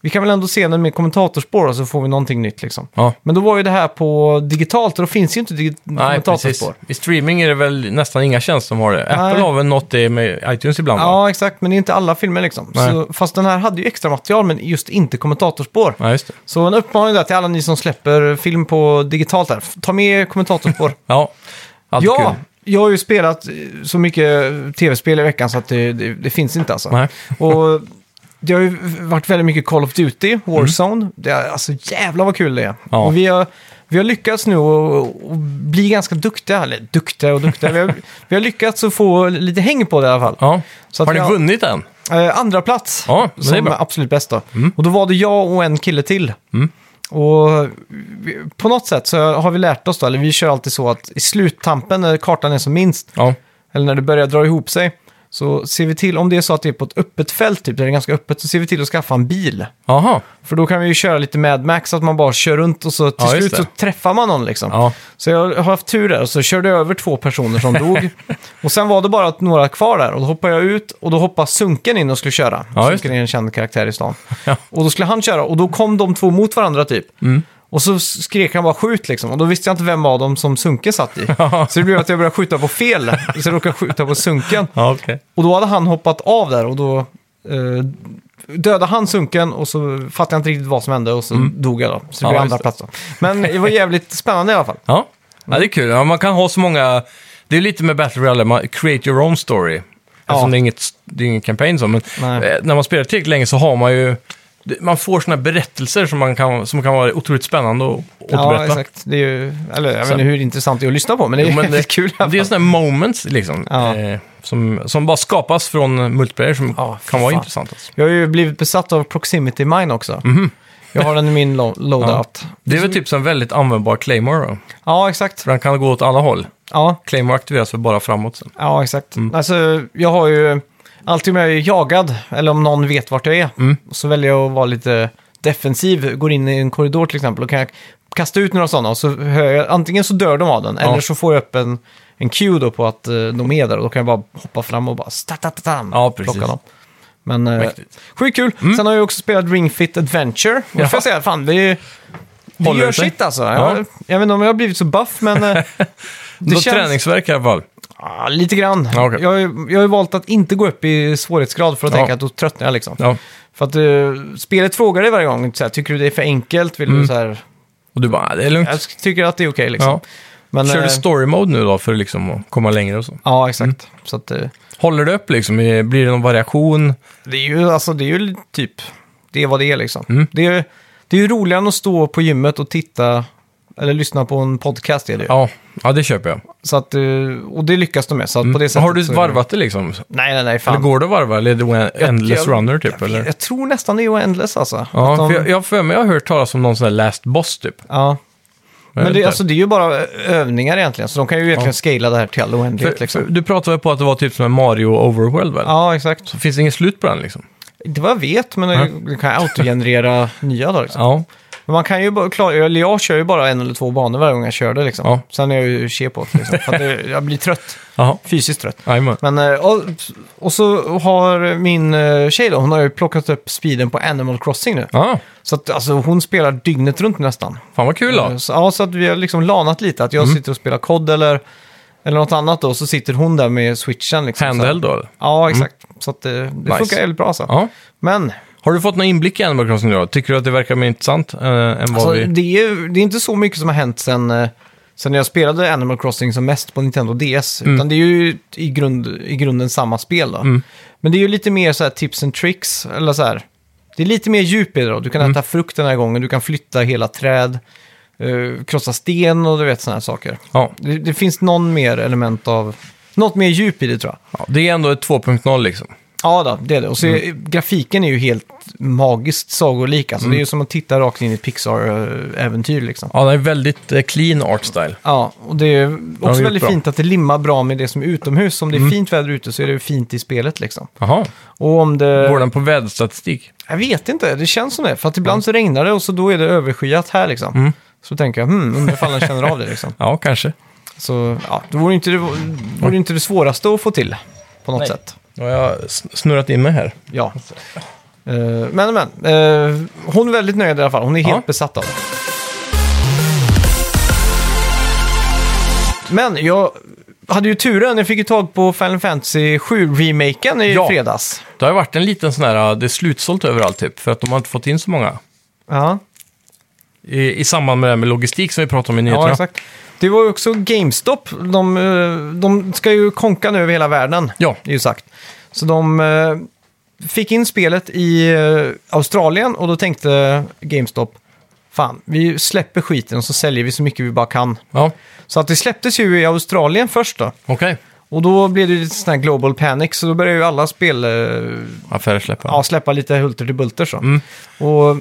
Speaker 2: vi kan väl ändå se den med kommentatorspår och så får vi någonting nytt liksom.
Speaker 1: Ja.
Speaker 2: Men då var ju det här på digitalt och då finns ju inte dig-
Speaker 1: Nej, precis.
Speaker 2: kommentatorspår.
Speaker 1: I streaming är det väl nästan inga tjänster som har det. Apple har väl nått det med iTunes ibland? va?
Speaker 2: Ja, exakt, men det är inte alla filmer liksom.
Speaker 1: Nej.
Speaker 2: Så, fast den här hade ju extra material men just inte kommentatorspår.
Speaker 1: Ja, just det.
Speaker 2: Så en uppmaning där till alla ni som släpper film på digitalt där, ta med kommentatorspår.
Speaker 1: Ja, alltid
Speaker 2: ja,
Speaker 1: kul.
Speaker 2: jag har ju spelat eh, så mycket tv-spel i veckan så att det, det, det finns inte alltså.
Speaker 1: Nej.
Speaker 2: Och det har ju varit väldigt mycket Call of Duty, Warzone. Det är, alltså jävlar vad kul det är.
Speaker 1: Mm. Ja.
Speaker 2: Och vi har, vi har lyckats nu att att bli ganska duktiga, eller duktiga och duktiga. vi, har, vi har lyckats att få lite häng på det i alla fall.
Speaker 1: Ja.
Speaker 2: Så att
Speaker 1: har ni
Speaker 2: vi har-
Speaker 1: vunnit än?
Speaker 2: Eh, andra plats
Speaker 1: Ja, men det
Speaker 2: som
Speaker 1: är bra. Mm.
Speaker 2: är absolut bäst då. Och då var det jag och en kille till. Och vi, på något sätt så har vi lärt oss då, eller vi kör alltid så att i sluttampen när kartan är som minst,
Speaker 1: Ja.
Speaker 2: eller när det börjar dra ihop sig, så ser vi till, om det är så att det är på ett öppet fält, typ, där det är ganska öppet, så ser vi till att skaffa en bil.
Speaker 1: Jaha.
Speaker 2: För då kan vi ju köra lite Mad Max, att man bara kör runt och så till
Speaker 1: Ja, just
Speaker 2: slut så
Speaker 1: det.
Speaker 2: träffar man någon liksom.
Speaker 1: Ja.
Speaker 2: Så jag har haft tur där och så körde jag över två personer som dog. och sen var det bara några kvar där och då hoppade jag ut och då hoppade Sunken in och skulle köra.
Speaker 1: Ja, just
Speaker 2: Sunken är en känd karaktär i stan.
Speaker 1: Ja. Mm.
Speaker 2: Och då skulle han köra och då kom de två mot varandra typ. Och så skrek han bara skjut liksom. Och då visste jag inte vem av dem som Sunken satt i. så det blev att jag började skjuta på fel. Så jag råkade skjuta på Sunken.
Speaker 1: Ja, okej.
Speaker 2: Och då hade han hoppat av där och då eh, dödade han sunken och så fattade jag inte riktigt vad som hände och så dog jag då. Så det
Speaker 1: Mm.
Speaker 2: blev
Speaker 1: Ja, just
Speaker 2: andra
Speaker 1: det.
Speaker 2: plats då. Men det var jävligt spännande i alla fall.
Speaker 1: Ja. ja, det är kul. Ja, man kan ha så många... Det är lite med Battle Royale, man create your own story. Eftersom det är, inget, det är ingen kampanj så, men
Speaker 2: Nej.
Speaker 1: eh, när man spelar tillräckligt länge så har man ju... det- Man får såna berättelser som, man kan, som kan vara otroligt spännande att återberätta.
Speaker 2: Ja, exakt. Det är ju, eller jag vet
Speaker 1: Sen-
Speaker 2: inte hur intressant det är att lyssna på, men det är
Speaker 1: Jo, men
Speaker 2: jävligt kul i alla
Speaker 1: Det är
Speaker 2: fall.
Speaker 1: sådana här moments liksom,
Speaker 2: Ja.
Speaker 1: eh, som, som bara skapas från multiplayer som
Speaker 2: Ja, för
Speaker 1: kan vara
Speaker 2: fan.
Speaker 1: intressant. Alltså.
Speaker 2: Jag har ju blivit besatt av Proximity Mine också.
Speaker 1: Mhm.
Speaker 2: Jag har den i min lo- loadout. Ja.
Speaker 1: Det är väl typ som en väldigt användbar claymore då.
Speaker 2: exakt.
Speaker 1: För den kan gå åt alla håll.
Speaker 2: Ja,
Speaker 1: Claymore aktiveras väl bara framåt sen.
Speaker 2: ja exakt.
Speaker 1: Mm.
Speaker 2: Alltså, jag har ju... Alltid om jag är jagad, eller om någon vet vart jag är,
Speaker 1: Mm.
Speaker 2: så väljer jag att vara lite defensiv. Går in i en korridor till exempel och kan jag kasta ut några sådana. Och så hör jag, antingen så dör de av den, eller så får jag upp en, en cue då på att eh, de är där. Och då kan jag bara hoppa fram och bara sta-ta-ta-tam,
Speaker 1: Ja, precis.
Speaker 2: plocka dem. Men eh,
Speaker 1: Mäktigt. Mm.
Speaker 2: sjukt kul. Sen har jag ju också spelat Ring Fit Adventure. Och då får
Speaker 1: Jaha.
Speaker 2: jag säga, fan det är... Det
Speaker 1: Håller
Speaker 2: gör
Speaker 1: det sig?
Speaker 2: shit alltså.
Speaker 1: Ja.
Speaker 2: Jag, jag vet inte om jag har blivit så buff, men eh,
Speaker 1: Det
Speaker 2: känns-
Speaker 1: träningsverk i alla fall.
Speaker 2: ah, lite grann.
Speaker 1: Ja, okej.
Speaker 2: Jag, har ju- jag har ju valt att inte gå upp i svårighetsgrad för att
Speaker 1: Ja.
Speaker 2: tänka att då tröttnar jag liksom.
Speaker 1: Ja.
Speaker 2: För att eh, spelet frågar dig varje gång, så här, tycker du det är för enkelt? Vill du så här,
Speaker 1: Och du bara, "Ah, det är lugnt.
Speaker 2: jag tycker att det är okej liksom.
Speaker 1: Mm. Ja.
Speaker 2: Men,
Speaker 1: Kör
Speaker 2: eh,
Speaker 1: du story mode nu då för liksom att komma längre och så?
Speaker 2: Ja, exakt.
Speaker 1: Mm.
Speaker 2: Så att, eh,
Speaker 1: Håller det upp liksom? Eh, Blir det någon variation?
Speaker 2: det, är ju, alltså, det är ju typ, det är vad det är liksom.
Speaker 1: Mm.
Speaker 2: Det, är, det är ju roligare än att stå på gymmet och titta, eller lyssna på en podcast är det ju.
Speaker 1: Ja, ja det köper jag.
Speaker 2: Så att, eh, och det lyckas de med. Så att på det sättet
Speaker 1: Mm. Har du
Speaker 2: så-
Speaker 1: varvat det liksom?
Speaker 2: Nej, nej, nej, fan.
Speaker 1: Eller går det att varva? Eller är det en- endless
Speaker 2: jag-
Speaker 1: runner typ? Eller?
Speaker 2: Jag tror nästan det är Endless alltså.
Speaker 1: Ja,
Speaker 2: Att de-
Speaker 1: för jag, jag har för mig jag har hört talas om någon sån här last boss typ.
Speaker 2: ja.
Speaker 1: Jag
Speaker 2: Men
Speaker 1: vet
Speaker 2: det,
Speaker 1: inte.
Speaker 2: alltså, det är ju bara övningar egentligen, så de kan ju egentligen scala det här till all oändlighet.
Speaker 1: För,
Speaker 2: Liksom.
Speaker 1: för, du pratade väl på att det var typ som en Mario Overworld väl?
Speaker 2: Ja, exakt.
Speaker 1: Så finns det inget slut på den liksom?
Speaker 2: Det var jag vet, men
Speaker 1: Ja.
Speaker 2: det- det kan autogenerera nya då. Liksom.
Speaker 1: Ja,
Speaker 2: Men man kan ju bara klara, eller jag kör ju bara en eller två banor varje gång jag kör det. Liksom.
Speaker 1: Ja.
Speaker 2: Sen är jag ju che på det, liksom, för att det, jag blir trött.
Speaker 1: jaha.
Speaker 2: Fysiskt trött.
Speaker 1: Jajamän.
Speaker 2: Men, eh, och, och så har min eh, tjej då, hon har ju plockat upp speeden på Animal Crossing nu.
Speaker 1: Ja,
Speaker 2: Så att, alltså, hon spelar dygnet runt nästan.
Speaker 1: fan vad kul då.
Speaker 2: Eh, Så, ja, så att vi har liksom lanat lite. Att jag
Speaker 1: Mm.
Speaker 2: sitter och spelar kod eller, eller något annat då, så sitter hon där med switchen. Liksom,
Speaker 1: Handheld
Speaker 2: Så.
Speaker 1: då?
Speaker 2: Ja, exakt. Så att eh, det, det funkar jävligt bra. Så.
Speaker 1: Ja.
Speaker 2: Men
Speaker 1: Har du fått någon inblick i Animal Crossing då? Tycker du att det verkar mer intressant eh, än vad
Speaker 2: alltså,
Speaker 1: vi...
Speaker 2: det, är, ju- det är inte så mycket som har hänt sen, eh, sen jag spelade Animal Crossing som mest på Nintendo DS.
Speaker 1: Mm.
Speaker 2: Utan det är ju i, grund, i grunden samma spel. Då. Men det är ju lite mer så här tips and tricks.
Speaker 1: Mm.
Speaker 2: Eller så här, det är lite mer djup i det. Då. Du kan äta frukt den här gången, du kan flytta hela träd. eh, krossa sten och du vet sådana här saker.
Speaker 1: Ja.
Speaker 2: Det, det finns någon mer element av... Något mer djup i det tror jag.
Speaker 1: Ja, det är ändå ett 2.0 liksom.
Speaker 2: Ja, då, det är det. Och så är, grafiken är ju helt magiskt sagolik. Alltså, Det är ju som att titta rakt in i ett Pixar-äventyr liksom.
Speaker 1: Ja, det är väldigt eh, clean art style.
Speaker 2: Ja, och det är
Speaker 1: har
Speaker 2: också
Speaker 1: gjort
Speaker 2: väldigt
Speaker 1: bra.
Speaker 2: fint att det limmar bra Mm. med det som är utomhus. Om det är fint väder ute så är det fint i spelet liksom.
Speaker 1: Jaha,
Speaker 2: Och om det...
Speaker 1: går den på väderstatistik?
Speaker 2: Jag vet inte, det känns som det. För att ibland så regnar det och så då är det överskyat här liksom. Så tänker jag, hmm, undrar ifall den känner av det liksom.
Speaker 1: Ja, kanske.
Speaker 2: Så ja, det vore inte det, vore inte det svåraste att få till på något
Speaker 1: Nej.
Speaker 2: sätt.
Speaker 1: Nu har jag s- snurrat in mig här.
Speaker 2: Ja. Eh, men, men. eh, hon är väldigt nöjd i alla fall. Hon är
Speaker 1: Ja.
Speaker 2: helt besatt av det. Men jag hade ju turen. Jag fick ju tag på Final Fantasy 7-remaken i
Speaker 1: Ja.
Speaker 2: fredags.
Speaker 1: Det har ju varit en liten sån här, eh, det är slutsålt överallt typ, för att de har inte fått in så många.
Speaker 2: Ja,
Speaker 1: I, i samband med det här med logistik som vi pratade om i nyheterna.
Speaker 2: ja exakt. Det var ju också GameStop. De, eh, de ska ju konka nu över hela världen.
Speaker 1: Ja.
Speaker 2: Det är ju sagt. Så de eh, fick in spelet i eh, Australien och då tänkte GameStop, fan, vi släpper skiten och så säljer vi så mycket vi bara kan.
Speaker 1: ja.
Speaker 2: Så att det släpptes ju i Australien först då.
Speaker 1: Okej,
Speaker 2: Och då blev det ju lite sån här global panic, så då började ju alla spel eh,
Speaker 1: affärer släpper.
Speaker 2: ja, släppa lite hulter till bulter så.
Speaker 1: Mm.
Speaker 2: Och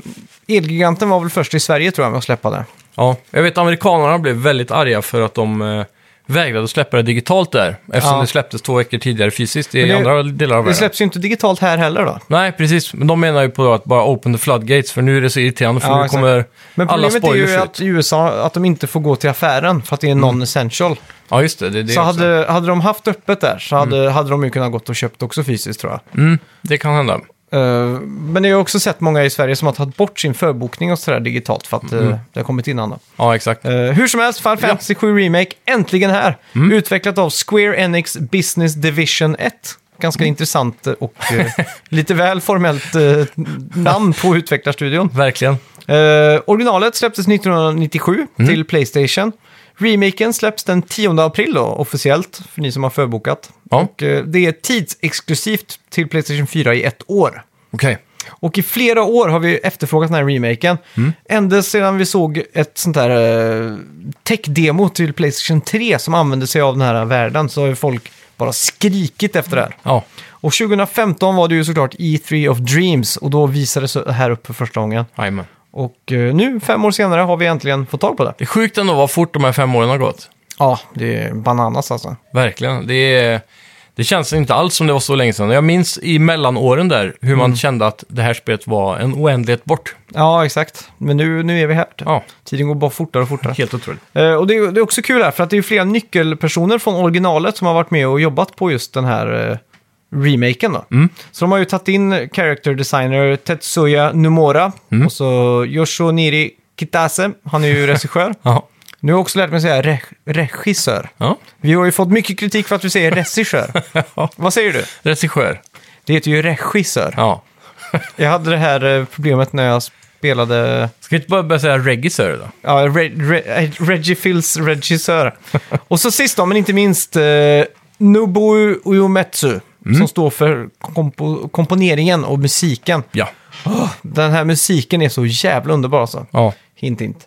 Speaker 2: Elgiganten var väl först i Sverige tror jag med att släppa det.
Speaker 1: Ja, jag vet amerikanerna blev väldigt arga för att de eh, vägrade att släppa det digitalt där. Eftersom
Speaker 2: Ja.
Speaker 1: det släpptes två veckor tidigare fysiskt i
Speaker 2: Men det-
Speaker 1: andra delar av
Speaker 2: Det
Speaker 1: världen.
Speaker 2: släpps ju inte digitalt här heller då.
Speaker 1: Nej, precis. Men de menar ju på att bara open the floodgates, för nu är det så irriterande för
Speaker 2: Ja,
Speaker 1: nu
Speaker 2: exakt.
Speaker 1: kommer
Speaker 2: Men
Speaker 1: alla
Speaker 2: problemet är
Speaker 1: spoilers
Speaker 2: ju
Speaker 1: ut. Mm.
Speaker 2: att i USA, att de inte får gå till affären för att det är non-essential.
Speaker 1: Ja, just det. det, är Mm. det
Speaker 2: Så
Speaker 1: också.
Speaker 2: hade, hade de haft öppet där så hade, hade de ju kunnat gått och köpt också fysiskt tror jag.
Speaker 1: Mm, det kan hända.
Speaker 2: Eh, men jag har också sett många i Sverige som har tagit bort sin förbokning och sådär digitalt för att
Speaker 1: Mm.
Speaker 2: eh, det har kommit in annat.
Speaker 1: Ja, exakt.
Speaker 2: Eh, hur som helst, Final Fantasy 7 Remake, äntligen här!
Speaker 1: Mm.
Speaker 2: Utvecklat av Square Enix Business Division 1. Ganska
Speaker 1: Mm.
Speaker 2: intressant eh, och eh, lite väl formellt eh, namn på utvecklarstudion.
Speaker 1: Verkligen.
Speaker 2: Eh, originalet släpptes 1997
Speaker 1: Mm.
Speaker 2: till Playstation. Remaken släpps den 10 april då, officiellt, för ni som har förbokat.
Speaker 1: Ja.
Speaker 2: Och, eh, det är tidsexklusivt till Playstation 4 i ett år.
Speaker 1: Okej.
Speaker 2: Och i flera år har vi efterfrågat den här remaken. Ända sedan vi såg ett sånt här eh, tech-demo till Playstation 3 som använde sig av den här världen så har ju folk bara skrikit efter det här.
Speaker 1: Ja.
Speaker 2: Och 2015 var det ju såklart E3 of Dreams och då visades det här upp för första gången.
Speaker 1: Jajamän.
Speaker 2: Och eh, nu, fem år senare, har vi äntligen fått tag på det.
Speaker 1: Det är sjukt ändå vad fort de här fem åren har gått.
Speaker 2: Ja, det är bananas alltså.
Speaker 1: Verkligen. Det, är, det känns inte alls som det var så länge sedan. Jag minns i mellanåren där hur man kände att det här spelet var en oändlighet bort.
Speaker 2: Ja, exakt. Men nu, nu är vi här.
Speaker 1: Ja,
Speaker 2: Tiden går bara fortare och fortare.
Speaker 1: helt otroligt.
Speaker 2: Eh, och det är, det är också kul här, för att det är flera nyckelpersoner från originalet som har varit med och jobbat på just den här eh, remaken. Då. Så de har ju tagit in character designer Tetsuya Nomura och så Yoshoniri Kitase, han är ju regissör.
Speaker 1: Ja.
Speaker 2: nu har jag också lärt mig säga re- regissör.
Speaker 1: ja.
Speaker 2: Vi har ju fått mycket kritik för att vi säger regissör. Vad säger du?
Speaker 1: Regissör.
Speaker 2: Det heter ju regissör.
Speaker 1: Ja.
Speaker 2: Jag hade det här eh, problemet när jag spelade
Speaker 1: Ska vi inte bara börja säga regissör då?
Speaker 2: ja, Re, Re, eh, Reggie Fils regissör. Och så sist då, men inte minst, eh, Nobuo Uematsu. Som står för kompo, komponeringen och musiken.
Speaker 1: Ja.
Speaker 2: Den här musiken är så jävla underbar alltså.
Speaker 1: ja.
Speaker 2: Hint, hint.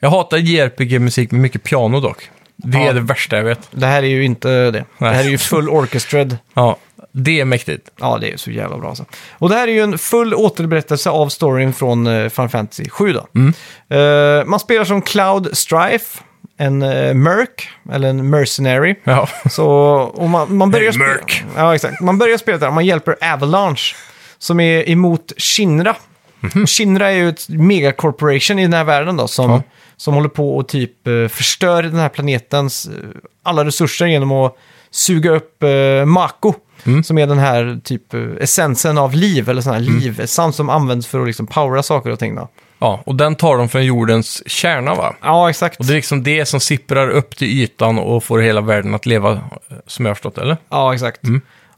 Speaker 1: Jag hatar JRPG-musik med mycket piano dock. Det
Speaker 2: Ja.
Speaker 1: är det värsta jag vet.
Speaker 2: Det här är ju inte det. Det här är ju full orchestrad.
Speaker 1: Ja. Det är mäktigt.
Speaker 2: Ja, det är så jävla bra alltså. Och det här är ju en full återberättelse av storyn från eh, Final Fantasy 7 då. Eh, man spelar som Cloud Strife, en eh, Merc, eller en Mercenary.
Speaker 1: Ja.
Speaker 2: Så, och man, man börjar
Speaker 1: En Merc.
Speaker 2: spela... Ja, exakt. Man börjar spela där, man hjälper Avalanche, som är emot Shinra. Shinra är ju ett megacorporation i den här världen då, som,
Speaker 1: Mhm. Ja.
Speaker 2: som håller på och typ eh, förstör den här planetens eh, alla resurser genom att suga upp eh, Mako.
Speaker 1: Mm.
Speaker 2: Som är den här typ eh, essensen av liv, eller sån här livessens som används för att liksom powera saker och ting. Då.
Speaker 1: ja. Och den tar de från jordens kärna va?
Speaker 2: Ja, exakt.
Speaker 1: Och det är liksom det som sipprar upp till ytan och får hela världen att leva, eh, som jag har förstått eller?
Speaker 2: Ja, exakt.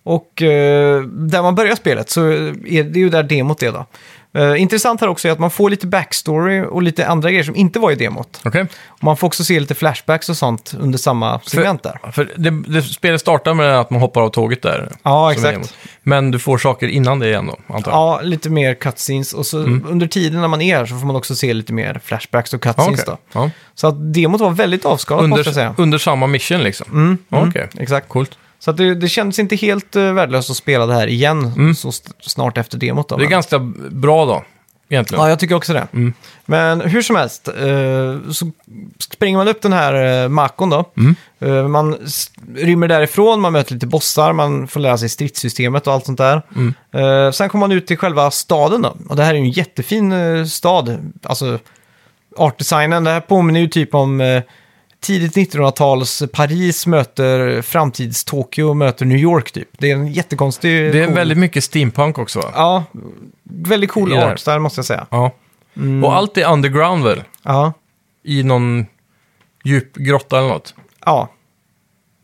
Speaker 2: Och eh, där man börjar spelet så är det ju där demot är då. Eh, intressant här också är att man får lite backstory och lite andra grejer som inte var i demot.
Speaker 1: Okej.
Speaker 2: Och man får också se lite flashbacks och sånt under samma segment där.
Speaker 1: För det, det, spelet startar med att man hoppar av tåget där.
Speaker 2: Ja,
Speaker 1: Som är
Speaker 2: exakt.
Speaker 1: emot. Men du får saker innan det igen då, antar jag?
Speaker 2: Ja, lite mer cutscenes och så
Speaker 1: Mm.
Speaker 2: under tiden när man är här så får man också se lite mer flashbacks och
Speaker 1: Ja,
Speaker 2: cutscenes
Speaker 1: okej.
Speaker 2: då.
Speaker 1: ja.
Speaker 2: Så att demot var väldigt avskalat måste jag säga.
Speaker 1: under, under samma mission liksom? Mm. Okej,
Speaker 2: Exakt.
Speaker 1: coolt.
Speaker 2: Så att det, det kändes inte helt uh, värdelöst att spela det här igen så st- snart efter demot. Då,
Speaker 1: Mm. Det är
Speaker 2: men-
Speaker 1: ganska bra då, egentligen.
Speaker 2: Ja, jag tycker också det.
Speaker 1: Mm.
Speaker 2: Men hur som helst, eh, så springer man upp den här eh, Makon då.
Speaker 1: Mm.
Speaker 2: Eh, man s- rymmer därifrån, man möter lite bossar, man får lära sig stridssystemet och allt sånt där.
Speaker 1: Mm.
Speaker 2: Eh, sen kommer man ut till själva staden då. Och det här är ju en jättefin eh, stad. Alltså, artdesignen, det här påminner ju typ om eh, tidigt 1900-tals Paris möter framtids-Tokyo möter New York typ. Det är en jättekonstig...
Speaker 1: Det är
Speaker 2: cool-
Speaker 1: väldigt mycket steampunk också va?
Speaker 2: Ja, väldigt cool
Speaker 1: I det här.
Speaker 2: art där måste jag säga.
Speaker 1: Ja.
Speaker 2: Mm.
Speaker 1: Och allt är underground väl?
Speaker 2: Ja.
Speaker 1: I någon djup grotta eller något?
Speaker 2: Ja,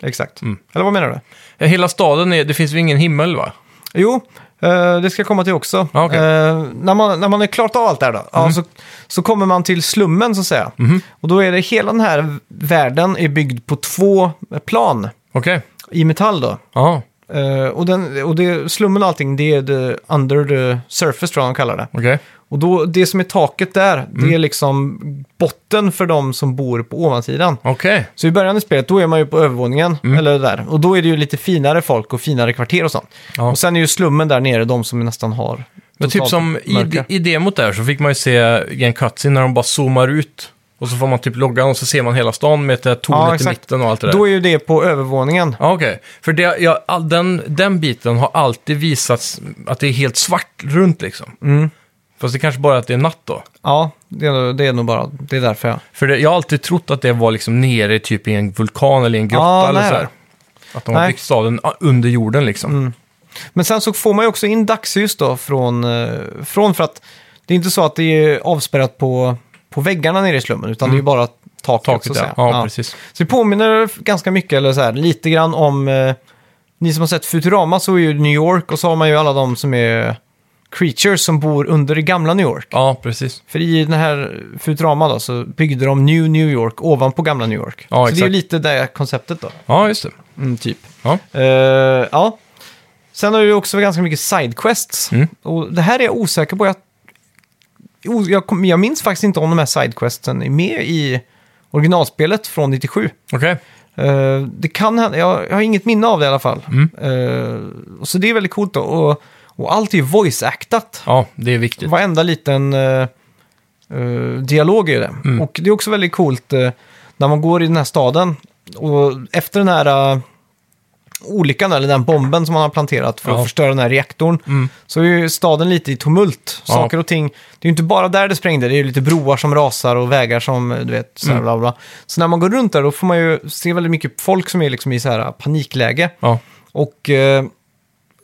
Speaker 2: exakt.
Speaker 1: Mm.
Speaker 2: Eller vad menar du?
Speaker 1: Eh, Hela staden, är, det finns ju ingen himmel va?
Speaker 2: Jo, eh, det ska jag komma till också.
Speaker 1: Ja, okej. Mm-hmm.
Speaker 2: Eh, när, man, när man är klart av allt det här då, ja, så, så kommer man till slummen så att säga. Och då är det hela den här världen är byggd på två plan
Speaker 1: Okej,
Speaker 2: i metall då.
Speaker 1: ja,
Speaker 2: Eh, och den, och det, slummen och allting, det är the under the surface tror jag de kallar det.
Speaker 1: okej.
Speaker 2: Och då, det som är taket där, det
Speaker 1: Mm.
Speaker 2: är liksom botten för de som bor på ovansidan.
Speaker 1: Okej,
Speaker 2: Så i början i spelet, då är man ju på övervåningen,
Speaker 1: Mm.
Speaker 2: eller där. Och då är det ju lite finare folk och finare kvarter och sånt.
Speaker 1: Ja.
Speaker 2: Och sen är ju slummen där nere de som nästan har
Speaker 1: men typ
Speaker 2: totalt
Speaker 1: som i,
Speaker 2: mörker.
Speaker 1: i demot där så fick man ju se i en cutscene när de bara zoomar ut. Och så får man typ loggan och så ser man hela stan med det här tornet
Speaker 2: Ja,
Speaker 1: i
Speaker 2: exakt.
Speaker 1: mitten och allt det där.
Speaker 2: Då är ju det på övervåningen.
Speaker 1: Ja, okej. För det, ja, all, den, den biten har alltid visats att det är helt svart runt liksom.
Speaker 2: Mm.
Speaker 1: Fast det kanske bara är att det är natt då.
Speaker 2: Ja, det är, det är nog bara, det är därför jag...
Speaker 1: För det, jag har alltid trott att det var liksom nere typ i en vulkan eller i en grotta
Speaker 2: Ja,
Speaker 1: eller
Speaker 2: nej.
Speaker 1: så här. Att de har
Speaker 2: Nej. Mm,
Speaker 1: byggt staden ah, under jorden liksom.
Speaker 2: Men sen så får man ju också in dagsljus då från, eh, från för att det är inte så att det är avspärrat på, på väggarna nere i slummen, utan det är ju bara taket, typ så
Speaker 1: Mm. Taket
Speaker 2: att
Speaker 1: där.
Speaker 2: säga.
Speaker 1: Ja,
Speaker 2: Ja.
Speaker 1: precis.
Speaker 2: Så det påminner ganska mycket, eller så här, lite grann om... Eh, ni som har sett Futurama så är ju New York och så har man ju alla de som är creatures som bor under det gamla New York.
Speaker 1: Ja, precis.
Speaker 2: För i den här Futurama då så byggde de New New York ovanpå gamla New York.
Speaker 1: Ja,
Speaker 2: så det är
Speaker 1: exakt.
Speaker 2: ju lite det konceptet då.
Speaker 1: Ja, just det.
Speaker 2: Mm, typ.
Speaker 1: Ja.
Speaker 2: Eh, ja. Sen har du ju också ganska mycket sidequests.
Speaker 1: Mm.
Speaker 2: Och det här är jag osäker på. Jag, o- jag, kom- jag minns faktiskt inte om de här sidequesten är med i originalspelet från 97.
Speaker 1: Okej.
Speaker 2: Eh, det kan hända, jag, jag har inget minne av det i alla fall. Eh, och så det är väldigt coolt då. Och, och allt är ju voice-actat.
Speaker 1: Ja, det är viktigt.
Speaker 2: Varenda liten eh, eh, dialog är det. Och det är också väldigt coolt eh, när man går i den här staden. Och efter den här eh, olyckan, eller den bomben som man har planterat för att
Speaker 1: Ja.
Speaker 2: förstöra den här reaktorn,
Speaker 1: Mm,
Speaker 2: så är ju staden lite i tumult.
Speaker 1: Ja.
Speaker 2: Saker och ting, det är ju inte bara där det sprängde, det är ju lite broar som rasar och vägar som, eh, du vet, så här, bla, bla. Så när man går runt där då får man ju se väldigt mycket folk som är liksom i så här panikläge.
Speaker 1: Ja.
Speaker 2: Och eh,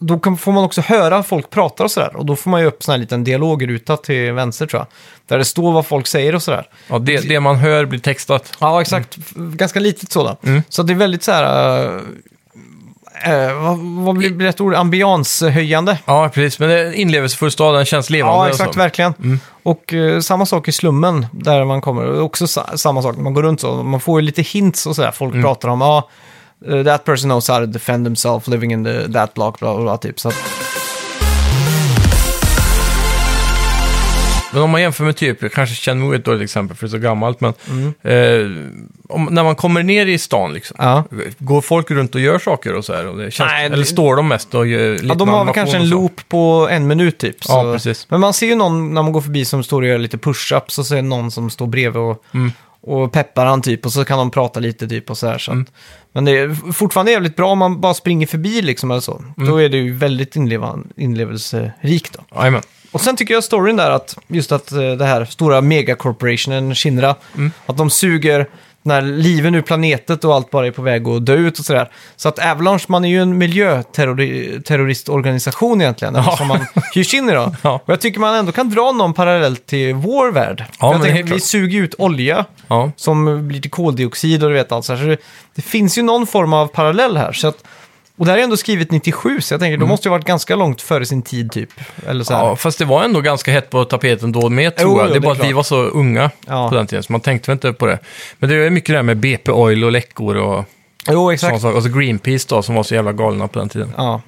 Speaker 2: då kan, får man också höra folk prata och sådär. Och då får man ju upp sån här liten dialogruta till vänster tror jag. Där det står vad folk säger och sådär.
Speaker 1: Ja, det, det man hör blir textat.
Speaker 2: Ja, exakt. F- Ganska litet sådant. Så det är väldigt så här... eh, eh, vad, vad blir blir rätt ord? Ambianshöjande.
Speaker 1: Ja, precis. Men det är en inlevelsefull stad, den känns levande.
Speaker 2: Ja,
Speaker 1: och
Speaker 2: exakt.
Speaker 1: så. Mm.
Speaker 2: Verkligen. Och eh, samma sak i slummen där man kommer. Och Också sa samma sak när man går runt så. Man får ju lite hints och sådär. Folk
Speaker 1: Mm.
Speaker 2: pratar om ja, eh, that person knows how to defend himself living in the, that block, bla bla bla. Typ. Så att,
Speaker 1: Men om man jämför med typ, jag kanske känner mig ett dåligt exempel för det är så gammalt, men eh, om, när man kommer ner i stan liksom,
Speaker 2: Mm. ja.
Speaker 1: går folk runt och gör saker och så här? Och det känns,
Speaker 2: Nej, det-
Speaker 1: Eller står de mest och gör lite
Speaker 2: Ja, de har väl kanske en loop på en minut typ. Så.
Speaker 1: Ja, precis.
Speaker 2: Men man ser ju någon när man går förbi som står och gör lite push-ups och så är det någon som står bredvid och,
Speaker 1: Mm.
Speaker 2: och peppar han typ och så kan de prata lite typ och så här. Så
Speaker 1: Mm.
Speaker 2: att, Men det är fortfarande jävligt bra om man bara springer förbi liksom eller så.
Speaker 1: Mm.
Speaker 2: Då är det ju väldigt inleva- inlevelserikt då.
Speaker 1: Jajamän.
Speaker 2: Och sen tycker jag storyn där att just att eh, det här stora megacorporationen Shinra,
Speaker 1: Mm.
Speaker 2: att de suger när liven ur planetet och allt bara är på väg att dö ut och sådär. Så att Avalanche, man är ju en miljöterroristorganisation egentligen, eller som man hyrs in i då.
Speaker 1: Ja.
Speaker 2: Och jag tycker man ändå kan dra någon parallell till vår värld. För
Speaker 1: men
Speaker 2: jag
Speaker 1: det är
Speaker 2: tänker,
Speaker 1: helt
Speaker 2: vi
Speaker 1: klart.
Speaker 2: suger ju ut olja
Speaker 1: Ja.
Speaker 2: som blir till koldioxid och du vet allt så här. Så det, det finns ju någon form av parallell här. Så att Och det här är ändå skrivet 97, så jag tänker då måste det varit ganska långt före sin tid typ. Eller så här.
Speaker 1: Mm. Ja, fast det var ändå ganska hett på tapeten då med, tror
Speaker 2: Jo,
Speaker 1: jag.
Speaker 2: jo,
Speaker 1: Det är
Speaker 2: det
Speaker 1: bara
Speaker 2: är
Speaker 1: att vi
Speaker 2: klart.
Speaker 1: var så unga
Speaker 2: Ja.
Speaker 1: på den tiden, så man tänkte väl inte på det. Men det är mycket det här med BP Oil och läckor och
Speaker 2: Jo,
Speaker 1: sådana
Speaker 2: exakt.
Speaker 1: saker. Och så Greenpeace då, som var så jävla galna på den tiden.
Speaker 2: Ja.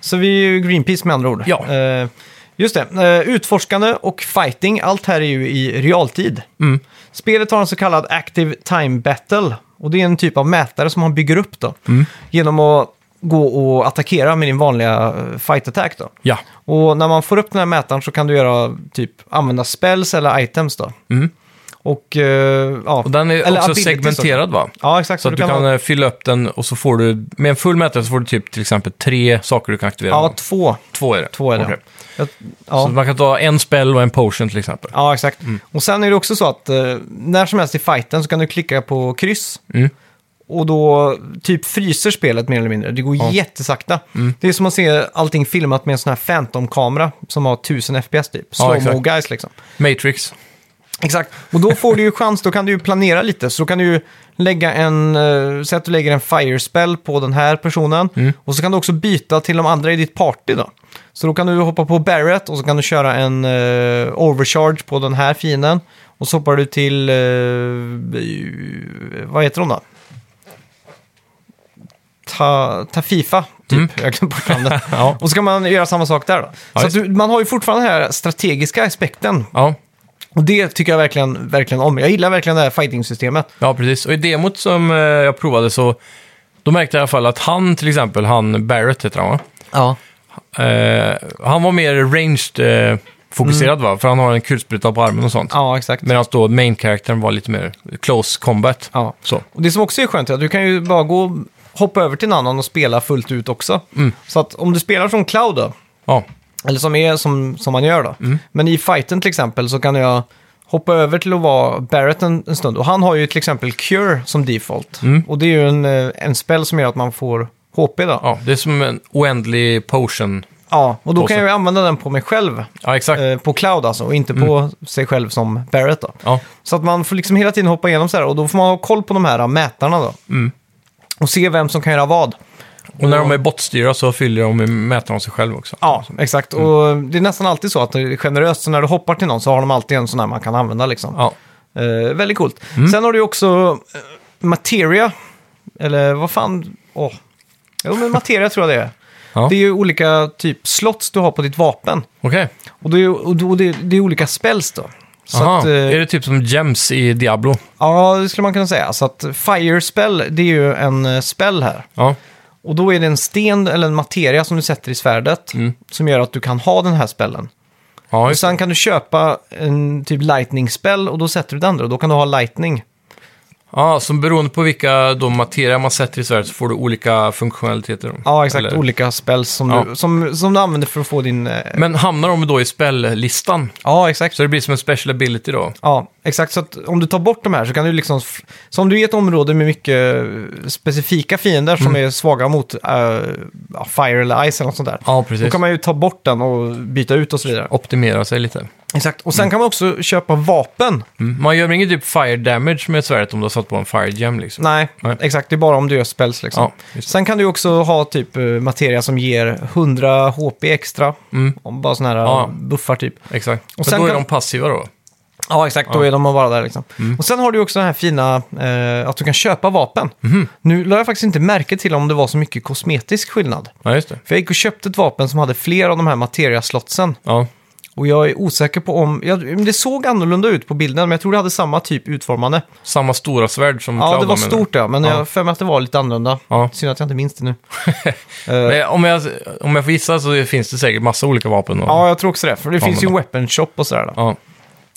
Speaker 2: Så vi är ju Greenpeace med andra ord.
Speaker 1: Ja.
Speaker 2: Eh, just det. Eh, utforskande och fighting, allt här är ju i realtid.
Speaker 1: Mm.
Speaker 2: Spelet har en så kallad Active Time Battle. Och det är en typ av mätare som man bygger upp då.
Speaker 1: Mm.
Speaker 2: Genom att gå och attackera med din vanliga eh, fight attack då.
Speaker 1: Ja,
Speaker 2: Och när man får upp den här mätaren så kan du göra typ använda spells eller items då.
Speaker 1: Mm.
Speaker 2: Och, eh, ja.
Speaker 1: och den är
Speaker 2: Eller
Speaker 1: också
Speaker 2: abilities
Speaker 1: segmenterad va?
Speaker 2: Ja, exakt.
Speaker 1: Så att du kan eh, fylla upp den och så får du, med en full mätare så får du typ till exempel tre saker du kan aktivera.
Speaker 2: Ja, två.
Speaker 1: två är det.
Speaker 2: två är det.
Speaker 1: Okej.
Speaker 2: Jag,
Speaker 1: Så
Speaker 2: ja.
Speaker 1: man kan ta en spell och en potion till exempel.
Speaker 2: ja, exakt.
Speaker 1: Mm.
Speaker 2: Och sen är det också så att eh, när som helst i fighten så kan du klicka på kryss.
Speaker 1: Mm.
Speaker 2: Och då typ fryser spelet mer eller mindre. Det går jättesakta.
Speaker 1: Mm.
Speaker 2: Det är som att se allting filmat med en sån här Phantom-kamera som har 1000 FPS typ. Slow-mo
Speaker 1: exakt.
Speaker 2: guys liksom.
Speaker 1: Matrix.
Speaker 2: Exakt, och då får du ju chans, då kan du ju planera lite. Så då kan du ju lägga en, eh, säg att du lägger en fire spell på den här personen.
Speaker 1: Mm.
Speaker 2: Och så kan du också byta till de andra i ditt party då. Så då kan du hoppa på Barrett och så kan du köra en eh, overcharge på den här fienden. Och så hoppar du till, eh, vad heter hon då? Ta, Tafifa, typ. Jag glömde bort namnet.
Speaker 1: Ja.
Speaker 2: Och så kan man göra samma sak där då.
Speaker 1: Mm. Ja,
Speaker 2: så att
Speaker 1: just.
Speaker 2: du, man har ju fortfarande den här strategiska aspekten
Speaker 1: Ja.
Speaker 2: och det tycker jag verkligen, verkligen om. Jag gillar verkligen det här fighting-systemet.
Speaker 1: ja, precis. Och i demot som eh, jag provade så då märkte jag i alla fall att han till exempel, han Barrett heter han va?
Speaker 2: Ja.
Speaker 1: Eh, han var mer ranged eh, fokuserad va? För han har en kulspruta på armen och sånt.
Speaker 2: Mm. Ja, exakt.
Speaker 1: Medan då main-karaktären var lite mer close combat.
Speaker 2: Ja.
Speaker 1: Så.
Speaker 2: Och det som också är skönt är att du kan ju bara gå och hoppa över till en annan och spela fullt ut också. Så att om du spelar som Cloud då,
Speaker 1: Ja.
Speaker 2: eller som är som, som man gör då, men i fighten till exempel så kan jag hoppa över till att vara Barrett en, en stund. Och han har ju till exempel Cure som default. Och det är ju en, eh, en spel som gör att man får HP då.
Speaker 1: ja, det är som en oändlig potion.
Speaker 2: Ja, och då
Speaker 1: Och
Speaker 2: kan
Speaker 1: så-
Speaker 2: jag ju använda den på mig själv.
Speaker 1: Ja, exakt.
Speaker 2: Eh, på Cloud alltså, och inte på sig själv som Barrett då.
Speaker 1: Ja.
Speaker 2: Så att man får liksom hela tiden hoppa igenom så här och då får man ha koll på de här mätarna då.
Speaker 1: Mm.
Speaker 2: Och se vem som kan göra vad.
Speaker 1: Och när de är botstyrda så fyller de med- mätaren av sig själv också.
Speaker 2: Ja, exakt.
Speaker 1: Mm.
Speaker 2: Och det är nästan alltid så att det är generöst, så när du hoppar till någon så har de alltid en sån här man kan använda liksom.
Speaker 1: Ja. Mm.
Speaker 2: Eh, väldigt coolt. Sen har du ju också eh, Materia, eller vad fan, åh. Jo, men Materia tror jag det är.
Speaker 1: Ja.
Speaker 2: Det är ju olika typ slots du har på ditt vapen.
Speaker 1: Okej.
Speaker 2: Och det är, ju- och då- det är, det är olika spells då. Så
Speaker 1: Aha.
Speaker 2: att, eh,
Speaker 1: Är det typ som gems i Diablo?
Speaker 2: Ja, det skulle man kunna säga. Så att fire spell, det är ju en eh, spell här.
Speaker 1: Ja.
Speaker 2: Och då är det en sten eller en materia som du sätter i svärdet som gör att du kan ha den här spellen.
Speaker 1: Mm. Ja,
Speaker 2: Och
Speaker 1: just.
Speaker 2: sen kan du köpa en typ lightning spell och då sätter du den där och då kan du ha lightning.
Speaker 1: ja, så beroende på vilka då materia man sätter i svärdet så får du olika funktionaliteter.
Speaker 2: Ja, exakt.
Speaker 1: Eller-
Speaker 2: Olika spells som,
Speaker 1: Ja.
Speaker 2: du, som, som du använder för att få din... eh,
Speaker 1: Men hamnar de då i spellistan?
Speaker 2: Ja, exakt.
Speaker 1: Så det blir som en special ability då?
Speaker 2: Ja, exakt. Så att om du tar bort de här så kan du liksom... f- Så om du är i ett område med mycket eh, specifika fiender som
Speaker 1: Mm.
Speaker 2: är svaga mot eh, ja, fire eller ice eller något sånt där.
Speaker 1: Ja, precis.
Speaker 2: Då kan man ju ta bort den och byta ut och så vidare.
Speaker 1: Optimera sig lite.
Speaker 2: Exakt. Och sen kan man också köpa vapen.
Speaker 1: Mm. Man gör väl ingen typ fire damage med svärdet om du har satt på en fire gem liksom?
Speaker 2: Nej,
Speaker 1: Nej.
Speaker 2: exakt. Det är bara om du gör spells liksom.
Speaker 1: Ja, just det.
Speaker 2: sen kan du också ha typ eh, materia som ger 100 HP extra. Om bara sådana här
Speaker 1: Mm. Ja.
Speaker 2: buffar typ.
Speaker 1: Exakt.
Speaker 2: Och
Speaker 1: För
Speaker 2: sen
Speaker 1: då är
Speaker 2: kan-
Speaker 1: de passiva då?
Speaker 2: Ja, exakt. Då är de bara där liksom.
Speaker 1: Mm.
Speaker 2: Och sen har du också den här fina eh, att du kan köpa vapen.
Speaker 1: Mhm.
Speaker 2: Nu la jag faktiskt inte märke till om det var så mycket kosmetisk skillnad.
Speaker 1: Ja, just det.
Speaker 2: För jag gick och köpte ett vapen som hade fler av de här materia-slotsen.
Speaker 1: Ja.
Speaker 2: Och jag är osäker på om... Ja, men det såg annorlunda ut på bilden, men jag tror det hade samma typ utformande.
Speaker 1: Samma stora svärd som
Speaker 2: Ja,
Speaker 1: Cloud
Speaker 2: det var
Speaker 1: använder.
Speaker 2: stort ja, men
Speaker 1: Ja.
Speaker 2: jag har för mig att det var lite annorlunda.
Speaker 1: Ja.
Speaker 2: Synd att jag inte minns det nu. Eh,
Speaker 1: Men om, jag, om jag får gissa så finns det säkert massa olika vapen. Och...
Speaker 2: Ja, jag tror också det. För det finns ju
Speaker 1: men-
Speaker 2: weapon shop och sådär. Då.
Speaker 1: Ja.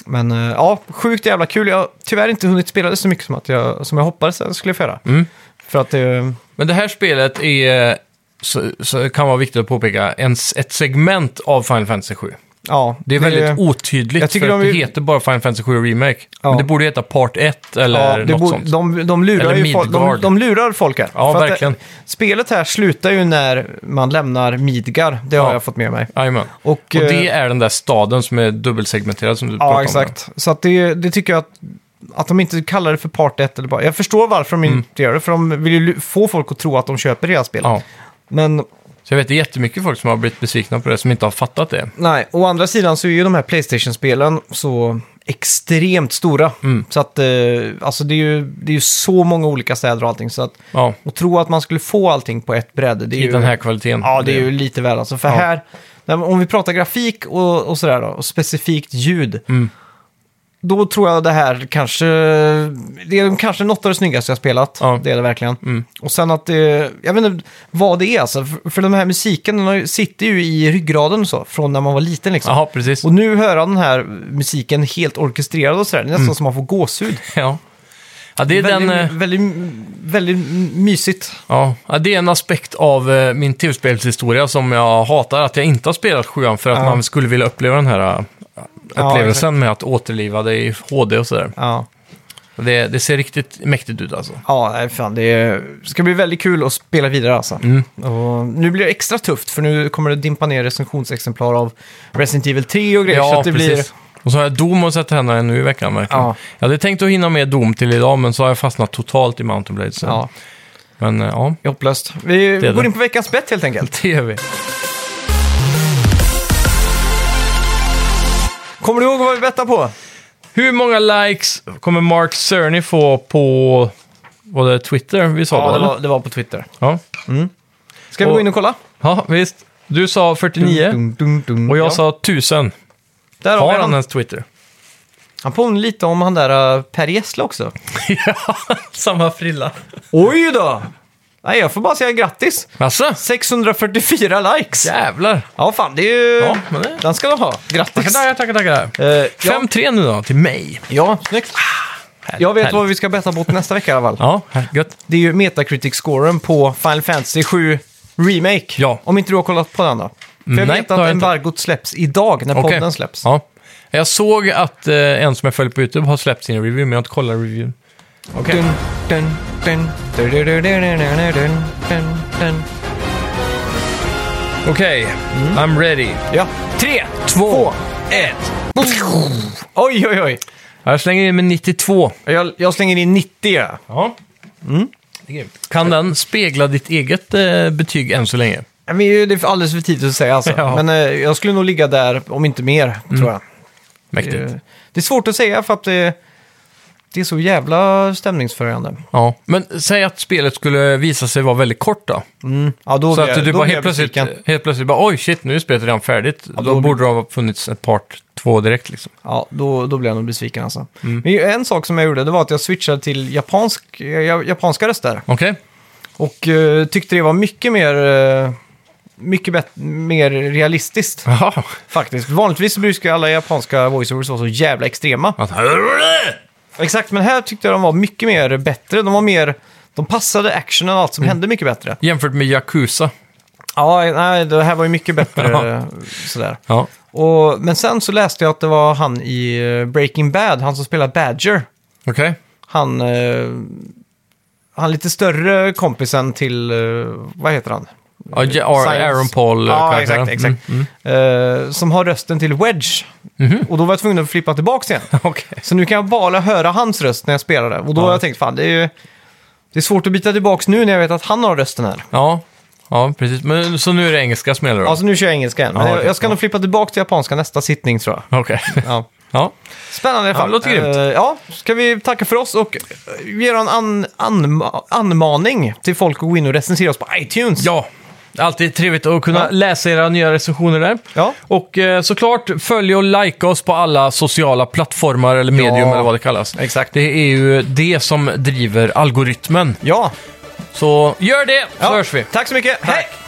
Speaker 2: Men eh, ja, sjukt jävla kul. Jag har tyvärr inte hunnit spela det så mycket som, att jag, som jag hoppades att jag skulle få göra.
Speaker 1: Mm.
Speaker 2: För att det...
Speaker 1: Men det här spelet är, så, så kan vara viktigt att påpeka, en, ett segment av Final Fantasy 7.
Speaker 2: Ja,
Speaker 1: Det är väldigt otydligt,
Speaker 2: Jag tycker
Speaker 1: för att
Speaker 2: de
Speaker 1: det
Speaker 2: är-
Speaker 1: heter bara Final Fantasy 7 Remake.
Speaker 2: Ja.
Speaker 1: Men det borde heta Part 1 eller
Speaker 2: Ja, det
Speaker 1: något
Speaker 2: borde-
Speaker 1: sånt.
Speaker 2: de, de, lurar
Speaker 1: Eller
Speaker 2: ju folk, de,
Speaker 1: Midgard.
Speaker 2: de lurar folk här.
Speaker 1: Ja,
Speaker 2: För att
Speaker 1: verkligen.
Speaker 2: Det, spelet här slutar ju när man lämnar Midgar. Det har
Speaker 1: Ja.
Speaker 2: jag fått med mig.
Speaker 1: Jajamän.
Speaker 2: Och,
Speaker 1: Och det
Speaker 2: eh,
Speaker 1: är den där staden som är dubbelsegmenterad som du pratade
Speaker 2: ja,
Speaker 1: om.
Speaker 2: exakt. Så att det, det tycker jag att, att de inte kallar det för Part 1 eller bara... Jag förstår varför de inte gör det, för de vill ju lu- få folk att tro att de köper hela spelet.
Speaker 1: Mm. Ja.
Speaker 2: Men
Speaker 1: Så jag vet det är jättemycket folk som har blivit besvikna på det, som inte har fattat det.
Speaker 2: nej, å andra sidan så är ju de här Playstation-spelen så extremt stora.
Speaker 1: Mm.
Speaker 2: Så att, eh, alltså det är, ju, det är ju så många olika städer och allting. Så att,
Speaker 1: Ja,
Speaker 2: och tro att man skulle få allting på ett bräde, det är
Speaker 1: i
Speaker 2: ju...
Speaker 1: den här kvaliteten.
Speaker 2: Ja, det är ju lite väl alltså. För
Speaker 1: Mm, Ja.
Speaker 2: här, när, om vi pratar grafik och, och sådär då, och specifikt ljud.
Speaker 1: Mm.
Speaker 2: Då tror jag det här kanske, det är kanske något av det snyggaste jag spelat.
Speaker 1: Ja.
Speaker 2: Det är det verkligen.
Speaker 1: Mm.
Speaker 2: Och sen att det, jag vet inte vad det är alltså. För, för den här musiken den har ju- sitter ju i ryggraden och så, från när man var liten liksom.
Speaker 1: Jaha, precis.
Speaker 2: Och nu höra den här musiken helt orkestrerad och sådär, det är nästan som man får gåshud.
Speaker 1: Ja. Ja, Mm. det är den... eh,
Speaker 2: väldigt, väldigt, väldigt mysigt.
Speaker 1: Ja, ja, det är en aspekt av eh, min tv-spelshistoria som jag hatar, att jag inte har spelat sjuan för att
Speaker 2: Ja.
Speaker 1: man skulle vilja uppleva den här eh,
Speaker 2: Ja,
Speaker 1: upplevelsen
Speaker 2: exakt.
Speaker 1: med att återliva det i HD och sådär.
Speaker 2: Ja.
Speaker 1: Det, det ser riktigt mäktigt ut alltså.
Speaker 2: Ja, nej, fan, det ska bli väldigt kul att spela vidare alltså.
Speaker 1: Mm.
Speaker 2: Och nu blir det extra tufft för nu kommer det dimpa ner recensionsexemplar av Resident Evil 3 och grejer. så att det blir...
Speaker 1: Och så har jag Doom att sätta händerna i nu i veckan verkligen.
Speaker 2: Ja.
Speaker 1: Jag hade tänkt att hinna med Doom till idag, men så har jag fastnat totalt i Mountain Blade. Så.
Speaker 2: Ja,
Speaker 1: Men eh, ja,
Speaker 2: det är hopplöst. Vi
Speaker 1: är det.
Speaker 2: går in på veckans bett helt enkelt.
Speaker 1: det gör vi.
Speaker 2: Kommer du ihåg vad vi bettade på?
Speaker 1: Hur många likes kommer Mark Cerny få på... Var det Twitter vi sa då?
Speaker 2: det
Speaker 1: eller?
Speaker 2: var, det var på Twitter.
Speaker 1: Ja.
Speaker 2: Ska vi
Speaker 1: Och-
Speaker 2: gå in och kolla?
Speaker 1: ja, visst. Du sa 49.
Speaker 2: Dun, dun, dun, dun.
Speaker 1: Och jag
Speaker 2: Ja.
Speaker 1: sa 1000.
Speaker 2: Där har
Speaker 1: Har
Speaker 2: vi
Speaker 1: han
Speaker 2: han.
Speaker 1: ens Twitter?
Speaker 2: Han påminner lite om han där uh, Per Gessle också.
Speaker 1: ja, samma frilla.
Speaker 2: Oj då! Nej, jag får bara säga grattis.
Speaker 1: Jaså?
Speaker 2: 644 likes!
Speaker 1: Jävlar.
Speaker 2: Ja, fan, det är ju...
Speaker 1: Ja, men det-
Speaker 2: Den ska de ha.
Speaker 1: Tackar,
Speaker 2: Grattis!
Speaker 1: tackar, tackar. tackar.
Speaker 2: Eh, ja.
Speaker 1: 5-3 nu då, till mig.
Speaker 2: Ja, snyggt. Ah, Jag vet vad vi ska betta mot nästa vecka i alla fall.
Speaker 1: Ja, gött.
Speaker 2: Det är ju Metacritic-scoren på Final Fantasy 7 Remake.
Speaker 1: Ja.
Speaker 2: Om inte du har kollat på den då. För jag
Speaker 1: Nej,
Speaker 2: vet
Speaker 1: det har
Speaker 2: att
Speaker 1: jag inte.
Speaker 2: embargot släpps idag när
Speaker 1: Okej.
Speaker 2: podden släpps.
Speaker 1: Ja. Jag såg att eh, en som jag följer på YouTube har släppt sin review, men jag har inte kollat reviewen.
Speaker 2: Okej. Dun, dun, dun, dun, dun, dun, dun, dun, dun, dun, dun.
Speaker 1: Okej, I'm ready.
Speaker 2: Ja.
Speaker 1: Tre, Mm. två, ett.
Speaker 2: Oj, oj, oj.
Speaker 1: Jag slänger in med 92.
Speaker 2: Jag, jag slänger in 90. ja.
Speaker 1: Ja. Mm. Kan den spegla ditt eget eh, betyg än så länge?
Speaker 2: Men det är alldeles för tidigt att säga alltså.
Speaker 1: Ja. Mm,
Speaker 2: Men eh, jag skulle nog ligga där, om inte mer, tror jag.
Speaker 1: Mäktigt.
Speaker 2: Eh, Det är svårt att säga för att eh, det, det är så jävla stämningsförande.
Speaker 1: Ja. Men säg att spelet skulle visa sig vara väldigt kort då?
Speaker 2: Ja, då
Speaker 1: Så
Speaker 2: blir jag-
Speaker 1: att du
Speaker 2: då
Speaker 1: bara
Speaker 2: blir
Speaker 1: helt
Speaker 2: jag
Speaker 1: plötsligt,
Speaker 2: besviken.
Speaker 1: helt plötsligt bara oj shit, nu är spelet redan färdigt. då
Speaker 2: då blir-
Speaker 1: borde det ha funnits ett part två direkt liksom.
Speaker 2: Ja, då, då blev jag nog besviken alltså.
Speaker 1: Mm.
Speaker 2: Men ju- en sak som jag gjorde, det var att jag switchade till japansk, eh, ja, japanska röster.
Speaker 1: Okej?
Speaker 2: Och eh, tyckte det var mycket mer... eh, mycket bet- mer realistiskt
Speaker 1: Jaha.
Speaker 2: faktiskt. Vanligtvis så brukar alla japanska voiceovers vara så jävla extrema.
Speaker 1: Att-
Speaker 2: Exakt, men här tyckte jag de var mycket mer bättre. De var mer... De passade actionen och allt
Speaker 1: Mm.
Speaker 2: som hände mycket bättre.
Speaker 1: Jämfört med Yakuza.
Speaker 2: Ja, nej, det här var ju mycket bättre. eh, sådär.
Speaker 1: Ja.
Speaker 2: Och, men sen så läste jag att det var han i eh, Breaking Bad, han som spelar Badger.
Speaker 1: Okej.
Speaker 2: Han, eh, han lite större kompisen till, eh, vad heter han?
Speaker 1: Ja, Ja, Ar-
Speaker 2: Science.
Speaker 1: Aaron Paul. eh,
Speaker 2: Ja,
Speaker 1: karaktären. mm.
Speaker 2: exakt, exakt. Eh, som har rösten till Wedge.
Speaker 1: Mhm.
Speaker 2: Och då var jag tvungen att flippa tillbaka igen.
Speaker 1: Mm. Okej.
Speaker 2: Så nu kan jag bara höra hans röst när jag spelar det. Och då har jag tänkt, fan det är ju... Det är svårt att byta tillbaka nu när jag vet att han har rösten här.
Speaker 1: Ja. ja, precis. Men, så nu är det engelska som gäller då?
Speaker 2: Alltså nu kör jag engelska igen. Men
Speaker 1: Ja,
Speaker 2: jag,
Speaker 1: okej.
Speaker 2: jag ska nog flippa tillbaka till japanska nästa sittning tror jag.
Speaker 1: Okej.
Speaker 2: Ja.
Speaker 1: ja.
Speaker 2: Spännande i alla
Speaker 1: Ja,
Speaker 2: fall.
Speaker 1: det låter grymt.
Speaker 2: Eh, ja, ska vi tacka för oss och eh, ge en an, anma, anmaning till folk att gå in och recensera oss på iTunes.
Speaker 1: ja. Alltid trevligt att kunna
Speaker 2: Ja.
Speaker 1: läsa era nya recensioner där.
Speaker 2: Ja.
Speaker 1: Och eh, såklart, följ och likea oss på alla sociala plattformar eller medium
Speaker 2: Ja.
Speaker 1: eller vad det kallas.
Speaker 2: Exakt.
Speaker 1: Det är ju det som driver algoritmen.
Speaker 2: Ja.
Speaker 1: Så gör det, så hörs vi.
Speaker 2: Tack så mycket. Hej!